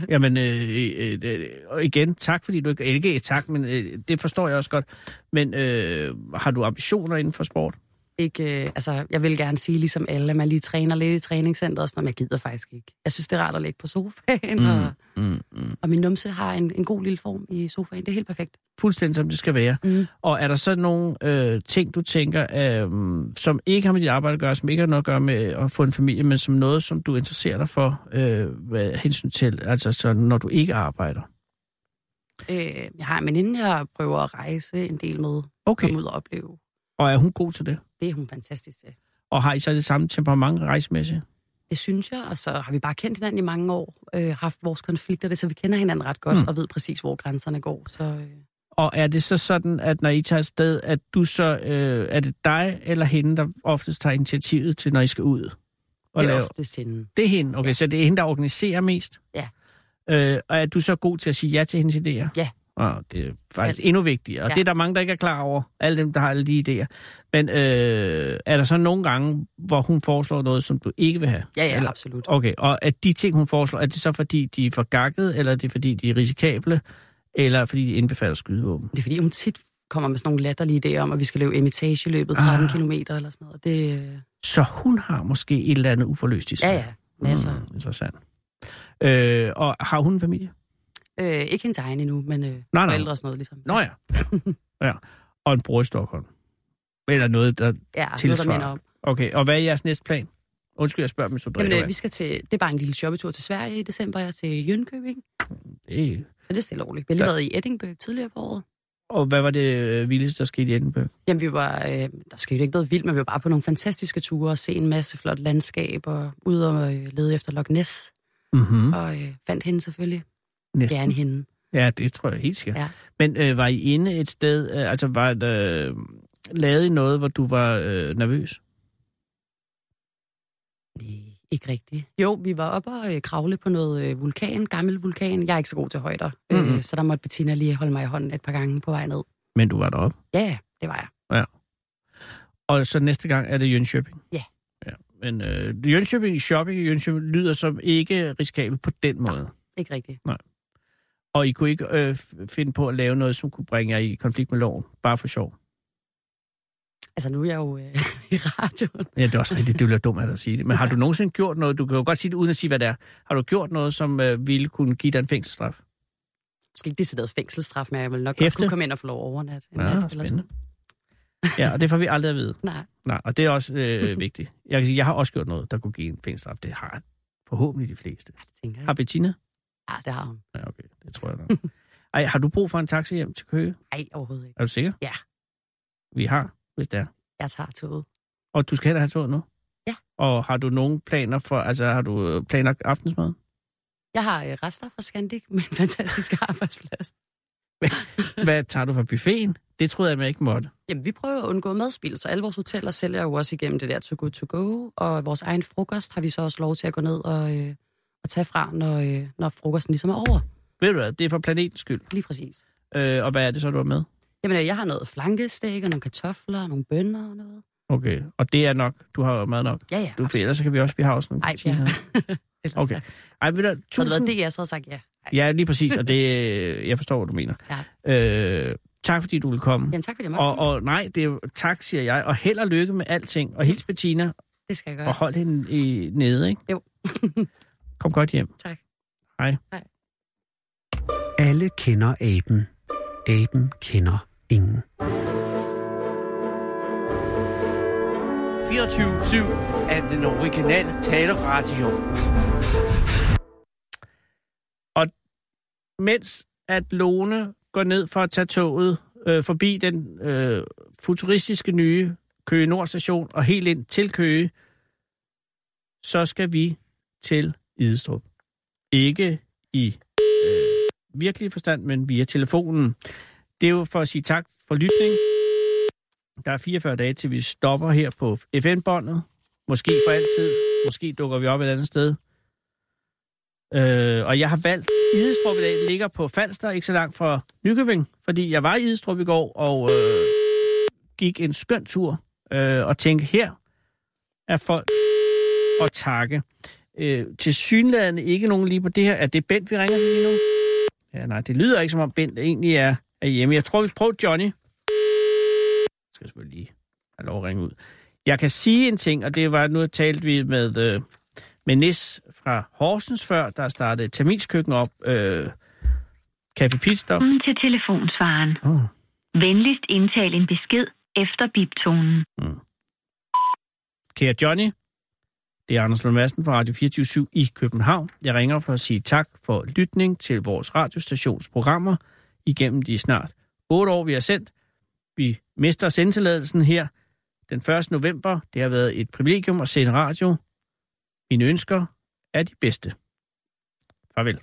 Speaker 3: Jamen, øh, øh, øh, og igen, tak fordi du ikke... Ikke et tak, men øh, det forstår jeg også godt. Men øh, har du ambitioner inden for sport?
Speaker 6: Ikke, øh, altså, jeg vil gerne sige, ligesom alle, at man lige træner lidt i træningscenteret og sådan noget, men jeg gider faktisk ikke. Jeg synes, det er rart at ligge på sofaen, mm. og,
Speaker 3: Mm, mm.
Speaker 6: og min numse har en, en god lille form i sofaen. Det er helt perfekt.
Speaker 3: Fuldstændig som det skal være.
Speaker 6: Mm.
Speaker 3: Og er der så nogle øh, ting, du tænker, øh, som ikke har med dit arbejde at gøre, som ikke har noget at gøre med at få en familie, men som noget, som du interesserer dig for, øh, hvad hensyn til, altså så når du ikke arbejder?
Speaker 6: Øh, jeg har en veninde, jeg prøver at rejse en del med,
Speaker 3: Okay,
Speaker 6: komme ud og opleve.
Speaker 3: og er hun god til det?
Speaker 6: Det er hun fantastisk til.
Speaker 3: Og har I så det samme temperament rejsemæssigt?
Speaker 6: Det synes jeg, og så har vi bare kendt hinanden i mange år, øh, haft vores konflikter, det, så vi kender hinanden ret godt,
Speaker 3: Mm.
Speaker 6: mm. og ved præcis, hvor grænserne går. Så, øh,
Speaker 3: Og er det så sådan, at når I tager afsted, at du så, øh, er det dig eller hende, der oftest tager initiativet til, når I skal ud? Og
Speaker 6: det er
Speaker 3: lave?
Speaker 6: oftest hende.
Speaker 3: det er hende, okay, så det er hende, der organiserer mest?
Speaker 6: Ja.
Speaker 3: Øh, og er du så god til at sige ja til hendes idéer?
Speaker 6: Ja.
Speaker 3: Og det er faktisk
Speaker 6: Ja.
Speaker 3: endnu vigtigere, og ja.
Speaker 6: Ja.
Speaker 3: det er der mange, der ikke er klar over, alle dem, der har alle de idéer. Men øh, er der så nogle gange, hvor hun foreslår noget, som du ikke vil have?
Speaker 6: Ja, ja,
Speaker 3: Eller-
Speaker 6: absolut.
Speaker 3: Okay, og at de ting, hun foreslår, er det så fordi, de er for gakkede, eller er det fordi, de er risikable, eller fordi de indbefatter skydevåben?
Speaker 6: Det er fordi, hun tit kommer med sådan nogle latterlige idéer om, at vi skal løbe imitageløbet 13 ah. km eller sådan noget. Det, øh,
Speaker 3: Så hun har måske et eller andet uforløst i sig.
Speaker 6: ja, ja, masser. Mm.
Speaker 3: Mm, interessant. Øh, og har hun en familie?
Speaker 6: Øh, ikke hendes egen endnu, men øh,
Speaker 3: Nej, nej.
Speaker 6: forældre og sådan noget ligesom.
Speaker 3: Nå ja. ja. Og en bror i Stockholm. Eller noget, der...
Speaker 6: ja, noget, der
Speaker 3: tilsvarende.
Speaker 6: minder om.
Speaker 3: Okay, og hvad er jeres næste plan? Undskyld, jeg spørger, mens du drikker
Speaker 6: Jamen, øh,
Speaker 3: vand.
Speaker 6: vi skal til, det er bare en lille shoppetur til Sverige i december, jeg er til Jönköping.
Speaker 3: Det-
Speaker 6: Så det er stille og roligt. Vi har lige været i Edinburgh tidligere på året.
Speaker 3: Og hvad var det øh, vildeste, der skete i Edinburgh?
Speaker 6: Jamen, vi var, øh, der skete ikke noget vildt, men vi var bare på nogle fantastiske ture og se en masse flot landskab og ude og øh, lede efter Loch Ness.
Speaker 3: Mm-hmm.
Speaker 6: Og øh, fandt hende selvfølgelig.
Speaker 3: Næsten.
Speaker 6: Gerne hende.
Speaker 3: Ja, det tror jeg helt sikkert. Ja.
Speaker 6: Ja.
Speaker 3: Men øh, var I inde et sted, øh, altså var der, øh, lavede I noget, hvor du var øh, nervøs?
Speaker 6: Nej, ikke rigtigt. Jo, vi var oppe og øh, kravle på noget øh, vulkan, gammel vulkan. Jeg er ikke så god til højder, mm-hmm.
Speaker 3: Mhm.
Speaker 6: øh, så der måtte Bettina lige holde mig i hånden et par gange på vej ned.
Speaker 3: Men du var deroppe.
Speaker 6: Ja, ja, det var jeg.
Speaker 3: Og så næste gang er det Jönköping?
Speaker 6: Ja.
Speaker 3: ja. Men øh, Jönköping, shopping i Jönköping lyder som ikke risikabelt på den måde.
Speaker 6: Ikke rigtigt.
Speaker 3: Og I kunne ikke øh, f- finde på at lave noget, som kunne bringe jer i konflikt med loven, bare for sjov?
Speaker 6: Altså, nu er jeg jo øh, i radioen.
Speaker 3: Ja, det er også rigtigt. Det ville være dumt af dig at sige det. Men har du nogensinde gjort noget, du kan jo godt sige det uden at sige, hvad det er, har du gjort noget, som øh, ville kunne give dig en fængselsstraf?
Speaker 6: Måske ikke decideret fængselsstraf, men jeg vil nok godt
Speaker 3: Hæfte?
Speaker 6: kunne komme ind og få lov at overnatte. en
Speaker 3: Ja,
Speaker 6: nat eller
Speaker 3: spændende. Ja, og det får vi aldrig at vide.
Speaker 6: to. Nej,
Speaker 3: Nej, og det er også øh, vigtigt. Jeg kan sige, jeg har også gjort noget, der kunne give en fængselsstraf. Det har forhåbentlig de fleste.
Speaker 6: det tænker jeg.
Speaker 3: Har Bettina?
Speaker 6: Ja, det har hun.
Speaker 3: Ja, okay. Det tror jeg nok. Ej, har du brug for en taxa hjem til Køge?
Speaker 6: Nej, overhovedet ikke.
Speaker 3: Er du sikker?
Speaker 6: Ja.
Speaker 3: Vi har, hvis det er.
Speaker 6: Jeg tager toget.
Speaker 3: Og du skal heller have toget nu?
Speaker 6: Ja.
Speaker 3: Og har du nogen planer for, altså har du øh, planlagt aftensmad?
Speaker 6: Jeg har øh, rester fra Scandic, men fantastisk arbejdsplads.
Speaker 3: Hvad tager du fra buffeten? Det troede jeg, man ikke måtte.
Speaker 6: Jamen, vi prøver at undgå madspil, så alle vores hoteller sælger jo også igennem det der to good to go, og vores egen frokost har vi så også lov til at gå ned og, øh, og tage fra, når, øh, når frokosten ligesom er over.
Speaker 3: Ved du hvad, det er for planetens skyld.
Speaker 6: Lige præcis.
Speaker 3: Øh, og hvad er det så, du har med?
Speaker 6: Jamen, øh, jeg har noget flankestik og nogle kartofler og nogle bønner og noget.
Speaker 3: Okay, og det er nok. Du har jo mad nok.
Speaker 6: Ja, ja.
Speaker 3: Du, for ellers så kan vi også, vi har også nogle
Speaker 6: Ej, ja.
Speaker 3: kantiner.
Speaker 6: Ellers
Speaker 3: Okay.
Speaker 6: tak.
Speaker 3: Ej, ved du,
Speaker 6: Havde det været
Speaker 3: tusind...
Speaker 6: det, jeg så havde sagt ja. Ej.
Speaker 3: Ja, lige præcis, og det, øh, jeg forstår, hvad du mener. Ja. Øh, tak, fordi du ville komme.
Speaker 6: Jamen, tak fordi jeg måtte.
Speaker 3: Og, og nej, det er, jo- tak, siger jeg, og held og lykke med alting. Og hils Bettina,
Speaker 6: komme. det skal jeg gøre.
Speaker 3: og hold hende i, nede, ikke?
Speaker 6: Jo.
Speaker 3: Kom godt hjem.
Speaker 6: Tak.
Speaker 3: Hej.
Speaker 2: Alle kender aben. Aben kender ingen.
Speaker 7: 24-7 af den originale taleradio.
Speaker 3: mens at Lone går ned for at tage toget øh, forbi den øh, futuristiske nye Køge Nord station og helt ind til Køge, så skal vi til Idestrup. Ikke i øh, virkelig forstand, men via telefonen. Det er jo for at sige tak for lytning. Der er 44 dage, til vi stopper her på FN-båndet. Måske for altid. Måske dukker vi op et andet sted. Øh, og jeg har valgt Idestrup i dag. Det ligger på Falster, ikke så langt fra Nykøbing, fordi jeg var i Idestrup i går og øh, gik en skøn tur øh, og tænkte, her er folk at takke. Øh, til synlædende ikke nogen lige på det her. Er det Bent, vi ringer til lige nu? Ja, nej, det lyder ikke som om Bent egentlig er, er hjemme. Jeg tror, vi prøver Johnny. Jeg skal selvfølgelig lige have lov at ringe ud. Jeg kan sige en ting, og det var, nu talte vi med... Øh, med Nis fra Horsens før, der startede Terminskøkken op, øh, Café Pitstop.
Speaker 8: Velkommen til telefonsvaren.
Speaker 3: Oh.
Speaker 8: Venligst indtal en besked efter biptonen.
Speaker 3: Kære Johnny, det er Anders Lund Madsen fra Radio 24 i København. Jeg ringer for at sige tak for lytning til vores radiostationsprogrammer igennem de snart 8 år, vi har sendt. Vi mister sendtilladelsen her den 1. november. Det har været et privilegium at sende radio. Mine ønsker er de bedste. Farvel.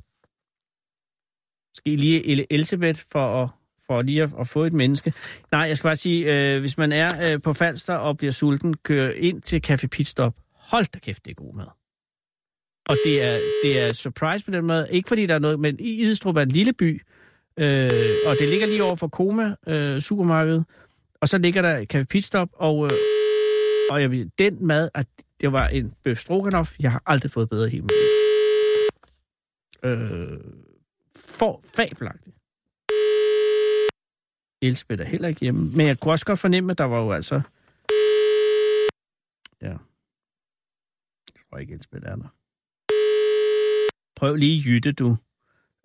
Speaker 3: Måske lige Elle Elisabeth for at for lige at, at få et menneske. Nej, jeg skal bare sige, øh, hvis man er øh, på Falster og bliver sulten, kør ind til Café Pitstop. Hold da kæft, det er god mad. Og det er, det er surprise på den måde. Ikke fordi der er noget, men i Idestrup er en lille by, øh, og det ligger lige over for Koma øh, supermarkedet. Og så ligger der Café Pitstop, og, øh, og jeg, vil- den mad, at det var en bøf stroganoff, jeg har aldrig fået bedre i hele mit liv. Øh, for fabelagtigt. Elisabeth er heller ikke hjemme. Men jeg kunne også godt fornemme, at der var jo altså... Ja. Jeg tror ikke, Elisabeth er der. Prøv lige Jytte, du.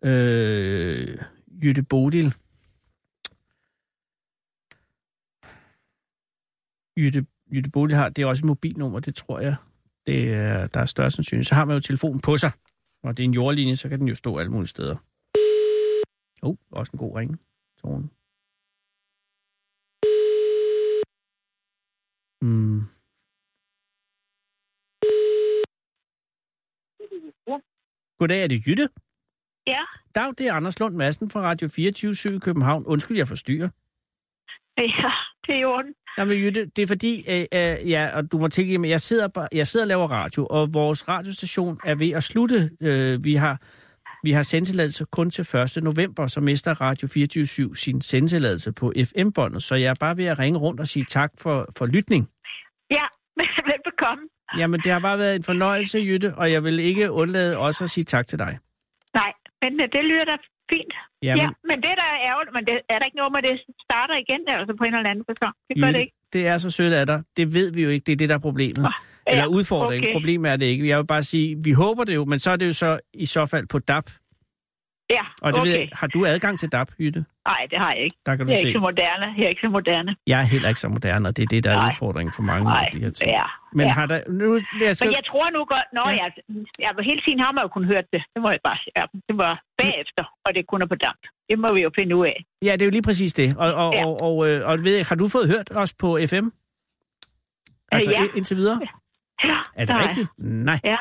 Speaker 3: Øh, Jytte Bodil. Jytte, Jytte Bodil har, det er også et mobilnummer, det tror jeg. Det er, der er større sandsynlighed. Så har man jo telefonen på sig. Når det er en jordlinje, så kan den jo stå alle mulige steder. Jo, oh, også en god ringe. Tone. Mm. Goddag, er det Jytte?
Speaker 9: Ja.
Speaker 3: Dag, det er Anders Lund Madsen fra Radio 24 i København. Undskyld, jeg forstyrrer.
Speaker 9: Ja, det er i orden.
Speaker 3: Nej, men Jytte, det er fordi, øh, øh, ja, og du må tilgive mig, jeg sidder, bare- jeg sidder og laver radio, og vores radiostation er ved at slutte. Øh, vi har, vi har sendtilladelse kun til 1. november, så mister Radio 24 sin sendtilladelse på FM-båndet, så jeg er bare ved at ringe rundt og sige tak for, for lytning.
Speaker 9: Ja, velbekomme.
Speaker 3: Jamen, det har bare været en fornøjelse, Jytte, og jeg vil ikke undlade også at sige tak til dig.
Speaker 9: Nej, men øh, det lyder da fint.
Speaker 3: Jamen,
Speaker 9: Ja, men det der er ærgerligt, men det, er der ikke noget med, at det starter igen altså på en eller anden person? Det gør det
Speaker 3: Jytte,
Speaker 9: ikke.
Speaker 3: det er så sødt af dig. Det ved vi jo ikke, det er det, der er problemet.
Speaker 9: ja,
Speaker 3: Eller udfordringen.
Speaker 9: okay.
Speaker 3: Problemet er det ikke. Jeg vil bare sige, vi håber det jo, men så er det jo så i så fald på DAP.
Speaker 9: Ja,
Speaker 3: Og det okay. ved,
Speaker 9: okay.
Speaker 3: jeg- har du adgang til DAP, Jytte?
Speaker 9: Nej, det har jeg ikke.
Speaker 3: Der kan du
Speaker 9: Jeg er
Speaker 3: se. Mm,
Speaker 9: ikke så moderne. Jeg er ikke så moderne.
Speaker 3: Jeg er heller ikke så moderne, og det er det, der er
Speaker 9: Nej.
Speaker 3: udfordringen for mange
Speaker 9: Nej,
Speaker 3: af de her ting.
Speaker 9: ja.
Speaker 3: Men
Speaker 9: ja.
Speaker 3: har der... Nu, jeg skal,
Speaker 9: Men jeg tror nu godt... Nå
Speaker 3: Ja.
Speaker 9: ja, ja, ja men hele tiden har man jo kun hørt det. Det må jeg bare sige. Ja, Det
Speaker 3: Mm.
Speaker 9: var bagefter, og det kun er på damp. Det må vi jo finde ud af.
Speaker 3: ja, det er jo lige præcis det. Og, og,
Speaker 9: Ja. Øh,
Speaker 3: og, og, øh, og ved jeg, har du fået hørt os på FM? Altså
Speaker 9: ja.
Speaker 3: i- indtil videre?
Speaker 9: Ja,
Speaker 3: Er det
Speaker 9: der
Speaker 3: rigtigt? Nej.
Speaker 9: Ja.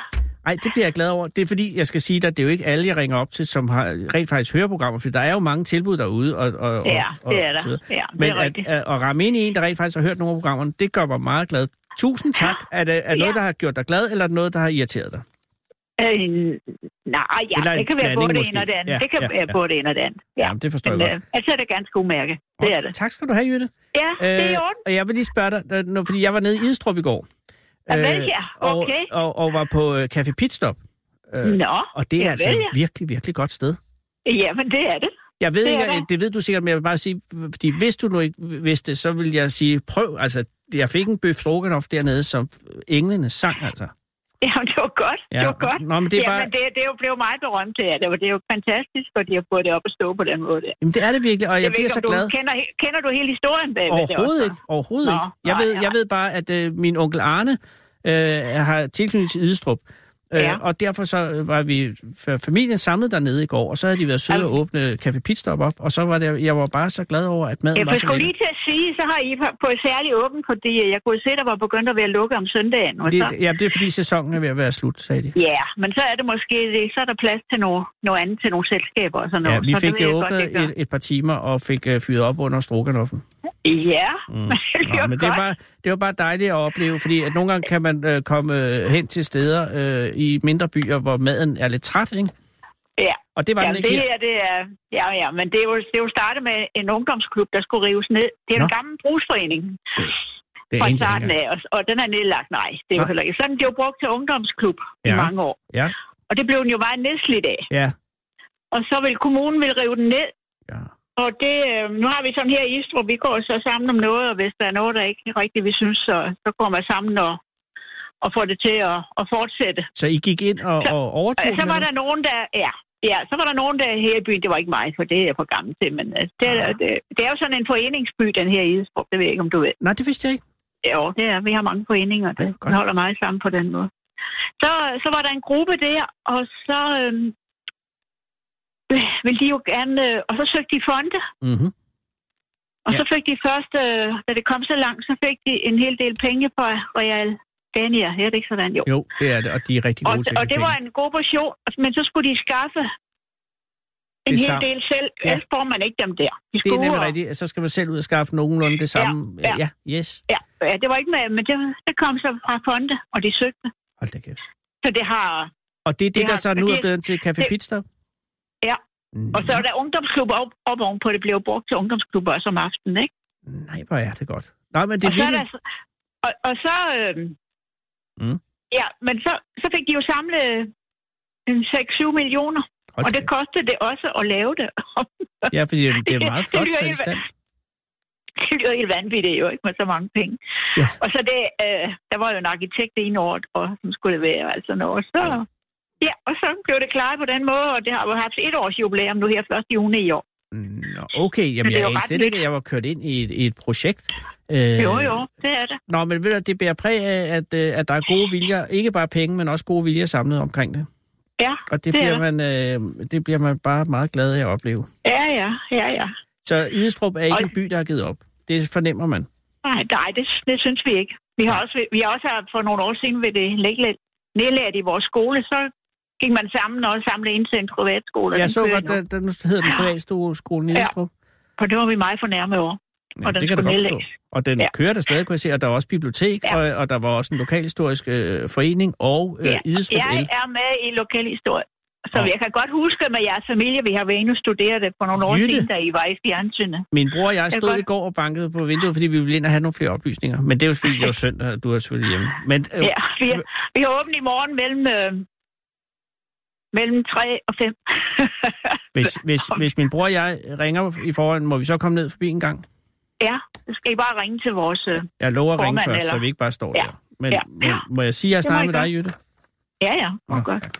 Speaker 3: Nej, det bliver jeg glad over. Det er fordi, jeg skal sige dig, det er jo ikke alle, jeg ringer op til, som har rent faktisk høreprogrammer, for der er jo mange tilbud derude. Og, og,
Speaker 9: Ja,
Speaker 3: og,
Speaker 9: det er
Speaker 3: og
Speaker 9: der.
Speaker 3: så videre.
Speaker 9: Ja, det
Speaker 3: Men
Speaker 9: er
Speaker 3: at,
Speaker 9: rigtigt.
Speaker 3: at, at ramme ind i en, der rent faktisk har hørt nogle af programmerne, det gør mig meget glad. Tusind tak. Er det er det noget,
Speaker 9: Ja.
Speaker 3: der har gjort dig glad, eller er det noget, der har irriteret dig?
Speaker 9: Øh, nej, ja,
Speaker 3: Eller en
Speaker 9: det kan være
Speaker 3: blanding
Speaker 9: både det
Speaker 3: måske.
Speaker 9: ene og det andet.
Speaker 3: Ja,
Speaker 9: det kan
Speaker 3: ja,
Speaker 9: være
Speaker 3: ja.
Speaker 9: både det ene og det andet. Ja.
Speaker 3: Jamen, det forstår
Speaker 9: Men
Speaker 3: jeg
Speaker 9: øh, altså, er det ganske umærke. Det er det.
Speaker 3: Tak skal du have, Jytte.
Speaker 9: Ja, det er i orden.
Speaker 3: og jeg vil lige spørge dig, øh, nu, fordi jeg var nede i Idstrup i går.
Speaker 9: Ja, vel, ja. Okay.
Speaker 3: øh, Og, og, og var på øh, Café Pitstop. Øh,
Speaker 9: Nå,
Speaker 3: og det er
Speaker 9: ja,
Speaker 3: altså
Speaker 9: vel,
Speaker 3: et
Speaker 9: ja.
Speaker 3: virkelig, virkelig godt sted.
Speaker 9: ja, men det er det.
Speaker 3: Jeg ved
Speaker 9: Det
Speaker 3: det
Speaker 9: er
Speaker 3: ikke,
Speaker 9: der.
Speaker 3: det ved du sikkert, men jeg vil bare sige, fordi hvis du nu ikke vidste det, så vil jeg sige, prøv, altså, jeg fik en bøf stroganoff dernede, som englene sang, altså.
Speaker 9: Jamen, det var godt.
Speaker 3: Ja,
Speaker 9: Det var godt.
Speaker 3: nå, men det er
Speaker 9: Jamen,
Speaker 3: bare-
Speaker 9: det, det er jo blevet meget berømt det her. Det, var, det er jo fantastisk, for de har fået det op at stå på den måde. der.
Speaker 3: Jamen, det er det virkelig, og jeg
Speaker 9: ved
Speaker 3: bliver
Speaker 9: ikke,
Speaker 3: så
Speaker 9: om du
Speaker 3: glad.
Speaker 9: Kender, he- kender du hele historien bag hvad det
Speaker 3: Overhovedet
Speaker 9: også
Speaker 3: ikke, overhovedet
Speaker 9: Nå,
Speaker 3: ikke. Jeg
Speaker 9: nej,
Speaker 3: ved,
Speaker 9: nej.
Speaker 3: jeg ved bare, at øh, min onkel Arne øh, har tilknytning til Idestrup. Øh,
Speaker 9: Ja.
Speaker 3: Og derfor så var vi f- familien samlet dernede i går, og så havde de været søde
Speaker 9: Jamen.
Speaker 3: og åbne Café Pitstop op, og så var det, jeg var bare så glad over, at maden
Speaker 9: Jeg
Speaker 3: var så
Speaker 9: skulle
Speaker 3: lækker.
Speaker 9: lige til at sige, så har I på- på særlig åben, fordi jeg kunne se, der var begyndt at være lukket om søndagen. Og så,
Speaker 3: Det, ja, det er fordi sæsonen er ved at være slut, sagde de.
Speaker 9: ja, men så er det måske, det, så er der plads til noget, noget andet, til nogle selskaber og sådan noget.
Speaker 3: Ja, vi
Speaker 9: så
Speaker 3: fik
Speaker 9: ved
Speaker 3: det
Speaker 9: jeg godt,
Speaker 3: åbnet
Speaker 9: gør.
Speaker 3: et, et par timer og fik øh, fyret op under stroganoffen.
Speaker 9: Ja, men
Speaker 3: Mm.
Speaker 9: det
Speaker 3: Nå,
Speaker 9: var
Speaker 3: men det
Speaker 9: godt.
Speaker 3: var, det var bare dejligt at opleve, fordi at nogle gange kan man øh, komme øh, hen til steder øh, i mindre byer, hvor maden er lidt træt, ikke?
Speaker 9: Ja.
Speaker 3: Og det var
Speaker 9: Ja,
Speaker 3: den ikke
Speaker 9: det
Speaker 3: her.
Speaker 9: her, det er... Ja, ja, men det er, jo, det er jo startet med en ungdomsklub, der skulle rives ned. Det er en
Speaker 3: Nå.
Speaker 9: gammel brugsforening
Speaker 3: Det anede
Speaker 9: fra
Speaker 3: jeg
Speaker 9: starten
Speaker 3: ikke engang.
Speaker 9: af, og, og den er nedlagt. Nej, det er jo
Speaker 3: Nå.
Speaker 9: heller ikke. Sådan, det er jo brugt til ungdomsklub i
Speaker 3: Ja.
Speaker 9: mange år.
Speaker 3: Ja,
Speaker 9: Og det blev den jo meget nedslidt af.
Speaker 3: ja,
Speaker 9: Og så vil kommunen vil rive den ned.
Speaker 3: ja.
Speaker 9: Og det, øh, nu har vi sådan her i Istrup, vi går så sammen om noget, og hvis der er noget, der ikke rigtigt vi synes, så, så går man sammen og, og får det til at, at fortsætte.
Speaker 3: Så I gik ind og,
Speaker 9: Så-
Speaker 3: og overtog
Speaker 9: Og så
Speaker 3: den,
Speaker 9: var
Speaker 3: eller?
Speaker 9: der nogen, der... Ja, ja, så var der nogen, der her i byen, det var ikke mig, for det er jeg for gammel til, men øh, det, er, det, det er jo sådan en foreningsby, den her i Idestrup, det ved jeg ikke, om du ved.
Speaker 3: Nej, det vidste jeg ikke.
Speaker 9: Jo, det er, vi har mange foreninger, der
Speaker 3: Ja, godt.
Speaker 9: holder meget sammen på den måde. Så, så var der en gruppe der, og så øhm, øh, ville de jo gerne... Øh, og så søgte de fonde,
Speaker 3: Mm-hmm.
Speaker 9: og
Speaker 3: Ja.
Speaker 9: så fik de først, øh, da det kom så langt, så fik de en hel del penge fra Real Dania. Er det ikke sådan? Jo.
Speaker 3: Jo, det er det, og de er rigtig
Speaker 9: Og,
Speaker 3: gode til at
Speaker 9: og det
Speaker 3: kende.
Speaker 9: var en god portion, men så skulle de skaffe en
Speaker 3: Det
Speaker 9: hel
Speaker 3: samme.
Speaker 9: del selv.
Speaker 3: Ja.
Speaker 9: Ja. Ellers får man ikke dem der. De
Speaker 3: Det er
Speaker 9: skulle
Speaker 3: nemlig
Speaker 9: og-
Speaker 3: rigtigt, at så skal man selv ud og skaffe nogenlunde det samme.
Speaker 9: ja.
Speaker 3: ja yes.
Speaker 9: Ja, ja, det var ikke med, men det, det kom så fra fonde, og de søgte.
Speaker 3: Hold da kæft.
Speaker 9: Så det har...
Speaker 3: Og det er det,
Speaker 9: Det
Speaker 3: der
Speaker 9: har-
Speaker 3: så nu er
Speaker 9: det-
Speaker 3: blevet til Café
Speaker 9: det-
Speaker 3: Pitstop?
Speaker 9: Ja.
Speaker 3: Mm.
Speaker 9: Og så er der ungdomsklubber op, op ovenpå, det blev jo brugt til ungdomsklubber også om aftenen, ikke?
Speaker 3: Nej, hvor er det godt. Nej, men det
Speaker 9: og
Speaker 3: er
Speaker 9: så er
Speaker 3: virkelig...
Speaker 9: der, og, og så... Øh,
Speaker 3: Mm.
Speaker 9: mm. Ja, men så, så fik de jo samlet øh, 6-7 millioner,
Speaker 3: Hold
Speaker 9: og
Speaker 3: da
Speaker 9: det kostede det også at lave det.
Speaker 3: kæft. Ja, fordi det, det er meget
Speaker 9: Det
Speaker 3: flot
Speaker 9: lyder
Speaker 3: sat i
Speaker 9: helt-
Speaker 3: stand.
Speaker 9: det lyder helt vanvittigt jo, ikke med så mange penge.
Speaker 3: Ja.
Speaker 9: Og så det, øh, der var jo en arkitekt det ene år, og som skulle det være, altså noget. Så,
Speaker 3: Ja.
Speaker 9: ja. ja, og så blev det klaret på den måde, og det har jo haft et års jubilæum nu her 1. juni i år.
Speaker 3: Nå, okay, jamen
Speaker 9: det er
Speaker 3: jeg
Speaker 9: jo
Speaker 3: anede
Speaker 9: ret
Speaker 3: slet
Speaker 9: nyt.
Speaker 3: ikke, at jeg var kørt ind i et, i et projekt. Øh,
Speaker 9: Jo, jo, det er det.
Speaker 3: Nå, men ved du, det bærer præg af, at, øh, at der er gode viljer, ikke bare penge, men også gode viljer samlet omkring det.
Speaker 9: Ja,
Speaker 3: Og det,
Speaker 9: Det er
Speaker 3: bliver man, øh, det bliver man bare meget glad af at opleve.
Speaker 9: ja, ja, ja, ja.
Speaker 3: Så Idestrup er ikke
Speaker 9: Og-
Speaker 3: en by, der har givet op. Det fornemmer man.
Speaker 9: Nej, nej det, det synes vi ikke. Vi har, også, vi har også haft for nogle år siden ved det nedlært, nedlært i vores skole, så gik man sammen og samlede ind til en privatskole. og
Speaker 3: Jeg
Speaker 9: den
Speaker 3: så
Speaker 9: kører
Speaker 3: godt,
Speaker 9: nu. Ah.
Speaker 3: der, der nu hedder den privatskolen i
Speaker 9: Ja.
Speaker 3: Idestrup.
Speaker 9: Og det var vi meget fornærmet over.
Speaker 3: Ja,
Speaker 9: og den
Speaker 3: det kan du
Speaker 9: skulle
Speaker 3: godt forstå.
Speaker 9: nedlægges.
Speaker 3: Og den ja.
Speaker 9: Ja.
Speaker 3: kører der stadig, kunne jeg se, og der var også bibliotek, ja.
Speaker 9: Ja.
Speaker 3: og, og der var også en lokalhistorisk øh, forening, og øh, ja. Idestrup
Speaker 9: jeg
Speaker 3: El.
Speaker 9: er med i lokalhistorie. Så
Speaker 3: Nå.
Speaker 9: jeg kan godt huske med jeres familie, vi har været inde og studeret det for nogle år
Speaker 3: Jytte.
Speaker 9: siden, da I var i fjernsynet.
Speaker 3: Min bror og jeg
Speaker 9: er
Speaker 3: stod
Speaker 9: godt.
Speaker 3: i går og bankede på vinduet, fordi vi ville ind og have nogle flere oplysninger. Men det er jo fordi, det var søndag, og du er selvfølgelig hjemme. Men øh,
Speaker 9: Ja, vi, er, vi er åbne i morgen mellem, øh, mellem 3 og 5.
Speaker 3: Hvis, hvis, hvis min bror og jeg ringer i forhånd, må vi så komme ned forbi en gang?
Speaker 9: ja, så skal I bare ringe til vores... Øh,
Speaker 3: Jeg lover at ringe
Speaker 9: Formand,
Speaker 3: først, så
Speaker 9: eller?
Speaker 3: vi ikke bare står
Speaker 9: Ja.
Speaker 3: der. Men,
Speaker 9: Ja.
Speaker 3: men må jeg sige, at jeg
Speaker 9: Det må
Speaker 3: snakker
Speaker 9: I
Speaker 3: med dig, Jytte?
Speaker 9: ja, ja,
Speaker 3: Nå,
Speaker 9: okay.
Speaker 3: tak.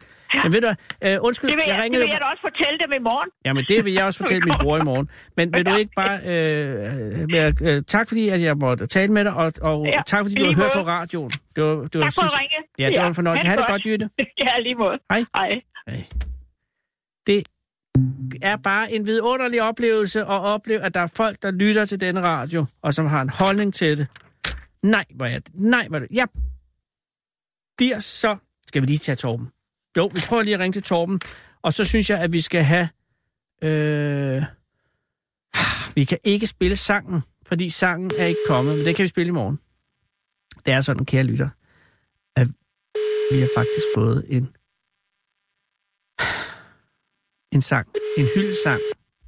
Speaker 3: Men ved du hvad, øh, undskyld,
Speaker 9: Det vil jeg,
Speaker 3: jeg
Speaker 9: det
Speaker 3: ringede
Speaker 9: vil
Speaker 3: jo...
Speaker 9: jeg da også fortælle dem i morgen.
Speaker 3: Jamen, det vil jeg også fortælle min bror i morgen. Men vil du
Speaker 9: Ja.
Speaker 3: ikke bare... Øh, øh, øh, tak fordi, at jeg måtte tale med dig, og, og
Speaker 9: Ja,
Speaker 3: tak fordi, du har
Speaker 9: lige
Speaker 3: hørt på
Speaker 9: måde.
Speaker 3: radioen. Det var, det var
Speaker 9: Tak for at
Speaker 3: sindssygt-
Speaker 9: ringe.
Speaker 3: Ja, det var en fornøjelse. Ha' det godt, Jytte.
Speaker 9: Ja, lige måde.
Speaker 3: Hej.
Speaker 9: Hej.
Speaker 3: Det er bare en vidunderlig oplevelse at opleve, at der er folk, der lytter til denne radio, og som har en holdning til det. Nej, hvor er det. Nej, hvor er det. Ja. Der så skal vi lige tage Torben. Jo, vi prøver lige at ringe til Torben, og så synes jeg, at vi skal have... Øh, vi kan ikke spille sangen, fordi sangen er ikke kommet, men det kan vi spille i morgen. Det er sådan, kære lytter, at vi har faktisk fået en en sang, en hyldesang,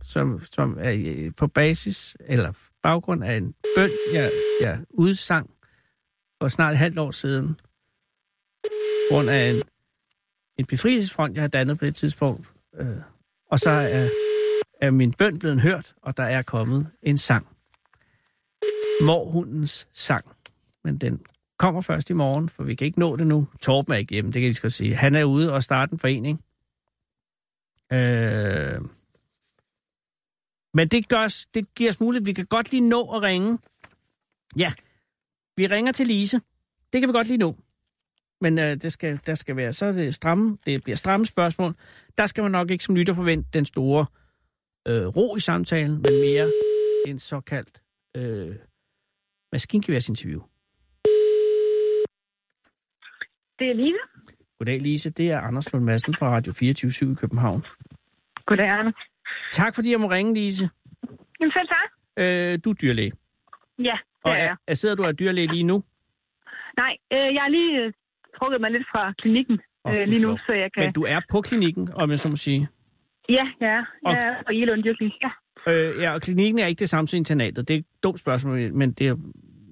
Speaker 3: som, som er øh, på basis eller baggrund af en bøn, jeg, jeg udsang for snart et halvt år siden, på grund af en, en befrielsesfront, jeg har dannet på det tidspunkt. Øh, og så er, er min bøn blevet hørt, og der er kommet en sang. Morhundens sang. Men den kommer først i morgen, for vi kan ikke nå det nu. Torben er ikke hjemme, det kan jeg lige skal sige. Han er ude og starte en forening. Øh... Men det, gør os, det giver os mulighed. Vi kan godt lige nå at ringe. Ja, vi ringer til Lise. Det kan vi godt lige nå. Men øh, det skal, der skal være, så er det stramme, det bliver stramme spørgsmål. Der skal man nok ikke som lytter forvente den store øh, ro i samtalen, men mere en såkaldt øh, maskingeværsinterview.
Speaker 9: Det er Line.
Speaker 3: Goddag Lise, det er Anders Lund Madsen fra Radio 24 i København.
Speaker 9: Goddag, Anna.
Speaker 3: Tak fordi jeg må ringe, Lise.
Speaker 9: Jamen selv tak.
Speaker 3: Øh, du er dyrlæge.
Speaker 9: Ja, det
Speaker 3: Og
Speaker 9: er
Speaker 3: er,
Speaker 9: jeg.
Speaker 3: er, sidder du og er dyrlæge lige nu?
Speaker 9: Nej, øh, jeg har lige øh, trukket mig lidt fra klinikken
Speaker 3: Åh,
Speaker 9: øh, lige nu,
Speaker 3: gudskelov.
Speaker 9: så jeg kan...
Speaker 3: Men du er på klinikken, om jeg så må sige.
Speaker 9: Ja, ja,
Speaker 3: Og-
Speaker 9: jeg er på Ilund Dyrkning. Ja.
Speaker 3: Øh, ja, og klinikken er ikke det samme som internatet. Det er et dumt spørgsmål, men det er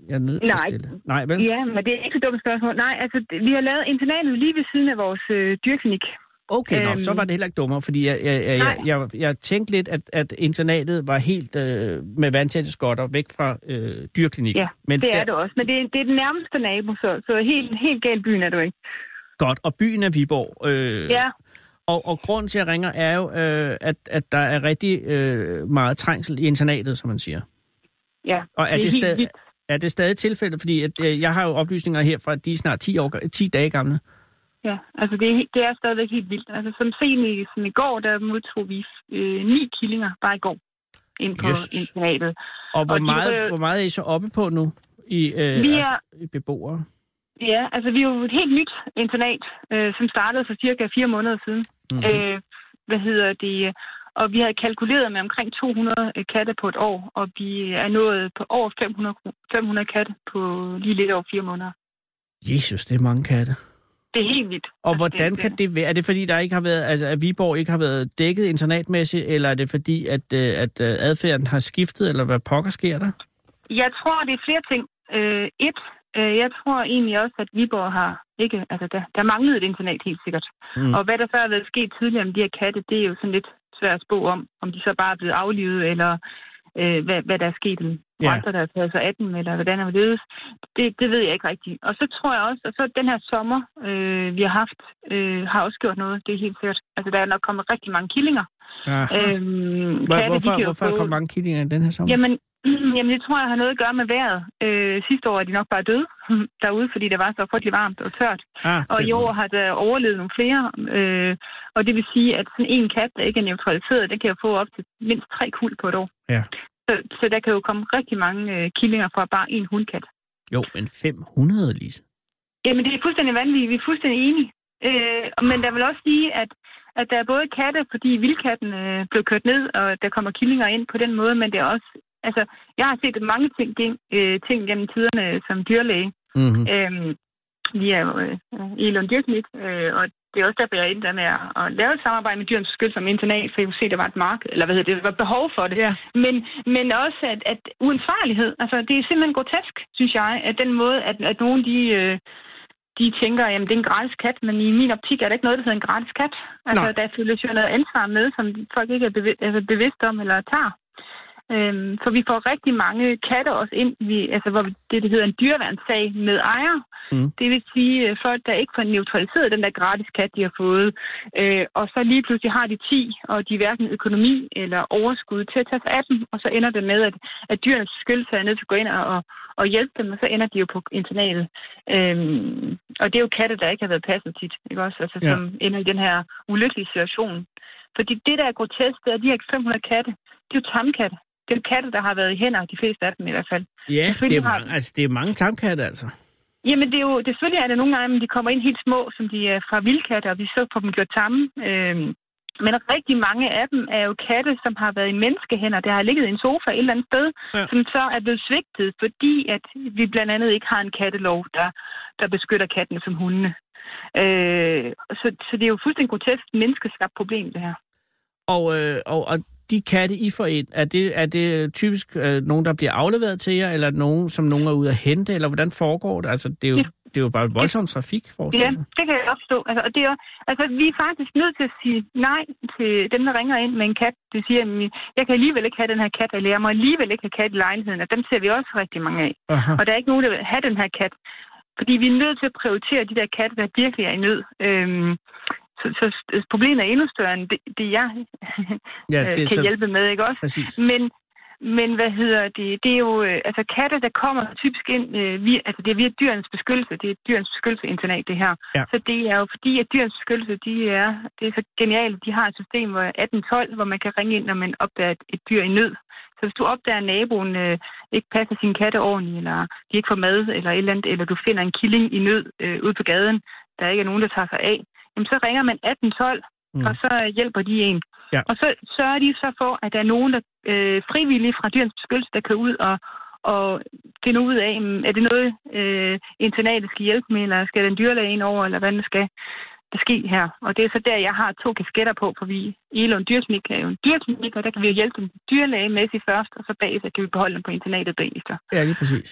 Speaker 3: jeg er nødt til
Speaker 9: Nej.
Speaker 3: at stille. Nej, vel?
Speaker 9: ja, men det er ikke så dumt spørgsmål. Nej, altså, det- vi har lavet internatet lige ved siden af vores øh, dyrklinik.
Speaker 3: Okay, øhm... nå,
Speaker 9: Øhm.
Speaker 3: så var det heller ikke dummere, fordi jeg, jeg, jeg, jeg,
Speaker 9: Nej.
Speaker 3: jeg, jeg tænkte lidt, at, at internatet var helt øh, med vandtætte skotter væk fra øh, dyrklinikken.
Speaker 9: Ja,
Speaker 3: men
Speaker 9: Det
Speaker 3: der,
Speaker 9: er det også, men det, er- det er den nærmeste nabo, så, så helt, helt galt byen er du ikke.
Speaker 3: Godt, og byen er Viborg. Øh,
Speaker 9: Ja,
Speaker 3: Og, og grunden til, at jeg ringer, er jo, øh, at, at der er rigtig øh, meget trængsel i internatet, som man siger.
Speaker 9: ja.
Speaker 3: Og er det,
Speaker 9: helt
Speaker 3: stadig,
Speaker 9: vildt.
Speaker 3: er det stadig tilfældet? Fordi at, øh, jeg har jo oplysninger her fra, at de er snart 10, år, 10 dage gamle.
Speaker 9: Ja, altså det er, he- det er stadigvæk helt vildt. Altså som sent i, som i går, der modtog vi øh, ni killinger bare i går ind på
Speaker 3: Jesus.
Speaker 9: internatet.
Speaker 3: Og hvor,
Speaker 9: de
Speaker 3: meget,
Speaker 9: rører-
Speaker 3: hvor meget er I så oppe på nu i, øh,
Speaker 9: Vi
Speaker 3: altså, i beboere?
Speaker 9: Ja, altså vi er jo et helt nyt internat, øh, som startede for cirka fire måneder siden.
Speaker 3: Mhm.
Speaker 9: Mm-hmm. Øh, hvad hedder det? øh, Og vi havde kalkuleret med omkring 200 katte på et år, og vi er nået på over 500, kro- 500 katte på lige lidt over fire måneder.
Speaker 3: Jesus, det er mange katte.
Speaker 9: Det er helt vildt.
Speaker 3: Og
Speaker 9: Altså,
Speaker 3: hvordan
Speaker 9: det,
Speaker 3: kan det være? Er det fordi, der ikke har været, altså, at Viborg ikke har været dækket internatmæssigt, eller er det fordi, at, øh, at øh, adfærden har skiftet, eller hvad pokker sker der?
Speaker 9: Jeg tror, det er flere ting. Øh, et, øh, jeg tror egentlig også, at Viborg har ikke... Altså, der, der manglede et internat helt sikkert.
Speaker 3: Mm.
Speaker 9: Mm. Og hvad der før har været sket tidligere med de her katte, det er jo sådan lidt svært at spå om, om de så bare er blevet aflivet, eller øh, hvad, hvad der er sket med
Speaker 3: Ja.
Speaker 9: yeah. andre, der har taget sig af dem, eller hvordan er ledes. Det, det ved jeg ikke rigtigt. Og så tror jeg også, og så den her sommer, øh, vi har haft, øh, har også gjort noget, det er helt sikkert. Altså, der er nok kommet rigtig mange killinger.
Speaker 3: Ja.
Speaker 9: Øhm,
Speaker 3: Hvor,
Speaker 9: katte, de
Speaker 3: hvorfor
Speaker 9: kan jo
Speaker 3: hvorfor er der
Speaker 9: få-
Speaker 3: kommet mange killinger i den her sommer?
Speaker 9: Jamen, jamen, det tror jeg har noget at gøre med vejret. Øh, sidste år er de nok bare døde derude, fordi det var så frygtelig varmt og tørt.
Speaker 3: ah,
Speaker 9: Og
Speaker 3: det-
Speaker 9: i år har der overlevet nogle flere. Øh, og det vil sige, at sådan en kat, der ikke er neutraliseret, den kan jo få op til mindst tre kul på et år.
Speaker 3: Ja.
Speaker 9: Så, så der kan jo komme rigtig mange øh, killinger fra bare en hundkat.
Speaker 3: Jo, men 500, Lise.
Speaker 9: Jamen, det er fuldstændig vanvittigt. Vi er fuldstændig enige. Øh, men der vil også sige, at, at der er både katte, fordi vildkatten øh, blev kørt ned, og der kommer killinger ind på den måde, men det er også... Altså, jeg har set mange ting, gen- øh, ting gennem tiderne som dyrlæge.
Speaker 3: Mm-hmm.
Speaker 9: Øh, vi er jo øh, i Lund Dyrknik, øh, og det er også derfor, jeg er endda med at, at lave et samarbejde med dyrens beskyttelse som internat, for jeg kunne se, der var et mark, eller hvad hedder det, der var behov for det.
Speaker 3: Ja,
Speaker 9: Men, men også at, at uansvarlighed, altså det er simpelthen grotesk, synes jeg, at den måde, at, at nogen de, øh, de tænker, jamen det er en gratis kat, men i min optik er der ikke noget, der hedder en gratis kat. Altså
Speaker 3: Nej.
Speaker 9: Nej. der følges jo noget ansvar med, som folk ikke er bevidst, altså, bevidst om eller tager. Øhm, for vi får rigtig mange katte også ind, vi, altså hvor vi, det, det hedder en dyreværnssag med ejer.
Speaker 3: Mm.
Speaker 9: Mm. Det vil sige øh, folk, der ikke får neutraliseret den der gratis kat, de har fået. Øh, og så lige pludselig har de 10, og de er hverken økonomi eller overskud til at tage sig af dem. Og så ender det med, at, at dyrenes beskyttelse er nødt til at gå ind og, og, og hjælpe dem, og så ender de jo på internatet. Øhm, og det er jo katte, der ikke har været passet tit, ikke også? Altså,
Speaker 3: Ja.
Speaker 9: ja. som ender i den her ulykkelige situation. Fordi det, der er grotesk, det er, at de her 500 katte, det er jo tamkatte. Det er jo katte, der har været i hænder, de fleste af dem i hvert fald.
Speaker 3: ja det, er
Speaker 9: Selvfølgelig har
Speaker 3: mange, altså, det er mange tamkatte, altså.
Speaker 9: Jamen, det er jo, det- selvfølgelig er det nogle gange, men de kommer ind helt små, som de er fra vildkatte, og vi så får dem gjort tamme. Øhm, men rigtig mange af dem er jo katte, som har været i menneskehænder. Der har ligget i en sofa et eller andet sted,
Speaker 3: Ja.
Speaker 9: ja. som så er blevet svigtet, fordi at vi blandt andet ikke har en kattelov, der, der beskytter kattene som hundene. Øh, så, så det er jo fuldstændig grotesk menneskeskabt problem, det her.
Speaker 3: Og, øh, og, og de katte, I får ind, er det, er det typisk øh, nogen, der bliver afleveret til jer, eller nogen, som nogen er ude at hente, eller hvordan foregår det? Altså, det er jo, det er jo bare voldsom trafik,
Speaker 9: Ja,
Speaker 3: forestiller jeg.
Speaker 9: det kan jeg godt forstå. Altså, og det er, jo- altså, vi er faktisk nødt til at sige nej til dem, der ringer ind med en kat. Det siger, at jeg kan alligevel ikke have den her kat, eller jeg må alligevel ikke have kat i lejligheden, og dem ser vi også rigtig mange af.
Speaker 3: Aha.
Speaker 9: Og der er ikke nogen, der vil have den her kat. Fordi vi er nødt til at prioritere de der katte, der virkelig er i nød. Øhm, så, så problemet er endnu større end det, det jeg
Speaker 3: Ja,
Speaker 9: ja,
Speaker 3: det er
Speaker 9: øh, kan så...
Speaker 3: så
Speaker 9: hjælpe med, ikke også?
Speaker 3: præcis.
Speaker 9: Men, men hvad hedder det? Det er jo, øh, altså katte, der kommer typisk ind, øh, via, altså det er via dyrens beskyttelse, det er dyrens beskyttelsesinternat, det her.
Speaker 3: Ja.
Speaker 9: Så det er jo fordi, at dyrens beskyttelse, de er, det er så genialt, de har et system, hvor 1812, hvor man kan ringe ind, når man opdager et, et dyr i nød. Så hvis du opdager, at naboen øh, ikke passer sine katte ordentligt, eller de ikke får mad, eller et eller andet, eller du finder en killing i nød øh, ude på gaden, der ikke er nogen, der tager sig af, jamen så ringer man 1812,
Speaker 3: Mm.
Speaker 9: mm. og så hjælper de en.
Speaker 3: Ja.
Speaker 9: Og så sørger de så for, at der er nogen, der øh, frivillige fra dyrens beskyttelse, der kører ud og, og finder ud af, mm, er det noget, øh, internatet skal hjælpe med, eller skal den dyrlæge ind over, eller hvad der skal der ske her. Og det er så der, jeg har to kasketter på, for vi i Elund Dyrsmik er jo en dyrklinik, og der kan vi jo hjælpe dem dyrlægemæssigt først, og så bagefter kan vi beholde dem på internatet bagefter.
Speaker 3: Ja, lige præcis.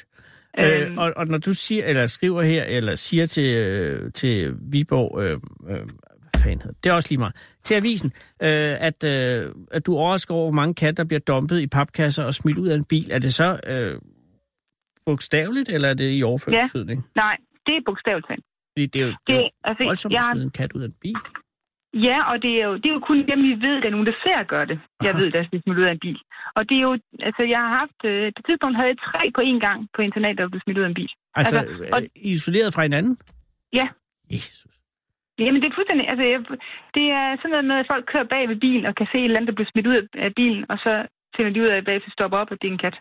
Speaker 3: Øh,
Speaker 9: Øhm.
Speaker 3: og, og når du siger, eller skriver her, eller siger til, øh, til Viborg, øh, øh, hvad fanden hedder det? det, er også lige meget, til avisen, øh, at, øh, at du er overrasket over, hvor mange katte, der bliver dumpet i papkasser og smidt ud af en bil, er det så øh, bogstaveligt, eller er det i overført ja.
Speaker 9: Ja.
Speaker 3: betydning?
Speaker 9: Nej, det er bogstaveligt talt.
Speaker 3: Fordi det er jo, det
Speaker 9: Det,
Speaker 3: er jo
Speaker 9: altså,
Speaker 3: voldsomt
Speaker 9: jeg
Speaker 3: at
Speaker 9: har
Speaker 3: smide en kat ud af en bil.
Speaker 9: Ja, og det er jo, det er jo kun dem, vi ved, der er nogen, der ser gør det. Jeg
Speaker 3: Aha.
Speaker 9: ved, der er smidt ud af en bil. Og det er jo, altså jeg har haft, øh, på et tidspunkt havde jeg tre på én gang på internat, der blev smidt ud af en bil.
Speaker 3: Altså,
Speaker 9: Altså,
Speaker 3: altså og...
Speaker 9: og-
Speaker 3: isoleret fra hinanden?
Speaker 9: Ja.
Speaker 3: Jesus.
Speaker 9: Jamen det er fuldstændig, altså jeg, det er sådan noget med, at folk kører bag ved bilen og kan se et eller andet, der bliver smidt ud af- af bilen, og så finder de ud af, at bagefter stopper op, at det er en kat.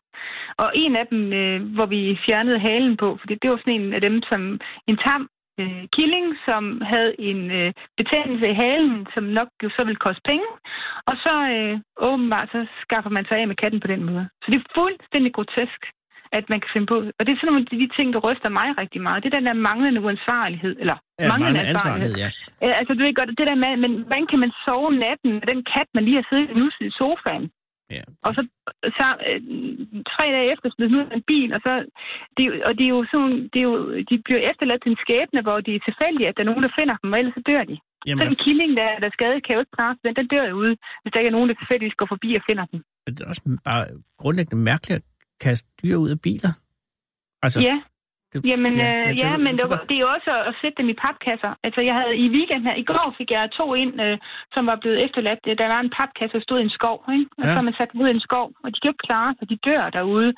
Speaker 9: Og en af dem, øh, hvor vi fjernede halen på, fordi det var sådan en af dem, som en tam øh, killing, som havde en øh, betændelse i halen, som nok jo så ville koste penge. Og så øh, åbenbart, så skaffer man sig af med katten på den måde. Så det er fuldstændig grotesk, at man kan finde på. Og det er sådan nogle af de ting, der ryster mig rigtig meget. Det er den der manglende uansvarlighed, eller
Speaker 3: Ja, manglende ansvarlighed, ja.
Speaker 9: Ja, altså, du ved godt, det der med, men hvordan kan man sove om natten med den kat, man lige har siddet og nusset i sofaen?
Speaker 3: ja.
Speaker 9: Og så, så øh, tre dage efter smidt den ud af en bil, og så, det, er jo- og det er jo sådan, det er jo, de bliver efterladt til en skæbne, hvor det er tilfældigt, at der er nogen, der finder dem, og ellers så dør de.
Speaker 3: Jamen, altså,
Speaker 9: Så den killing, der, der er skadet, kan jo ikke straffe, den, den dør jo ude, hvis der ikke er nogen, der tilfældigvis går forbi og finder den.
Speaker 3: det er også bare grundlæggende mærkeligt at kaste dyr ud af biler. Altså,
Speaker 9: Ja.
Speaker 3: Det-
Speaker 9: Jamen,
Speaker 3: ja,
Speaker 9: ja, øh,
Speaker 3: jeg
Speaker 9: ja
Speaker 3: tænker-
Speaker 9: men
Speaker 3: jeg
Speaker 9: det,
Speaker 3: tænker-
Speaker 9: det er jo også at- at sætte dem i papkasser. Altså, jeg havde i weekenden her, i går fik jeg to ind, øh, som var blevet efterladt. Øh, Der var en papkasse, der stod i en skov, ikke?
Speaker 3: Ja.
Speaker 9: Og ja. så har man sat dem ud i en skov, og de kan jo ikke klare, så de dør derude.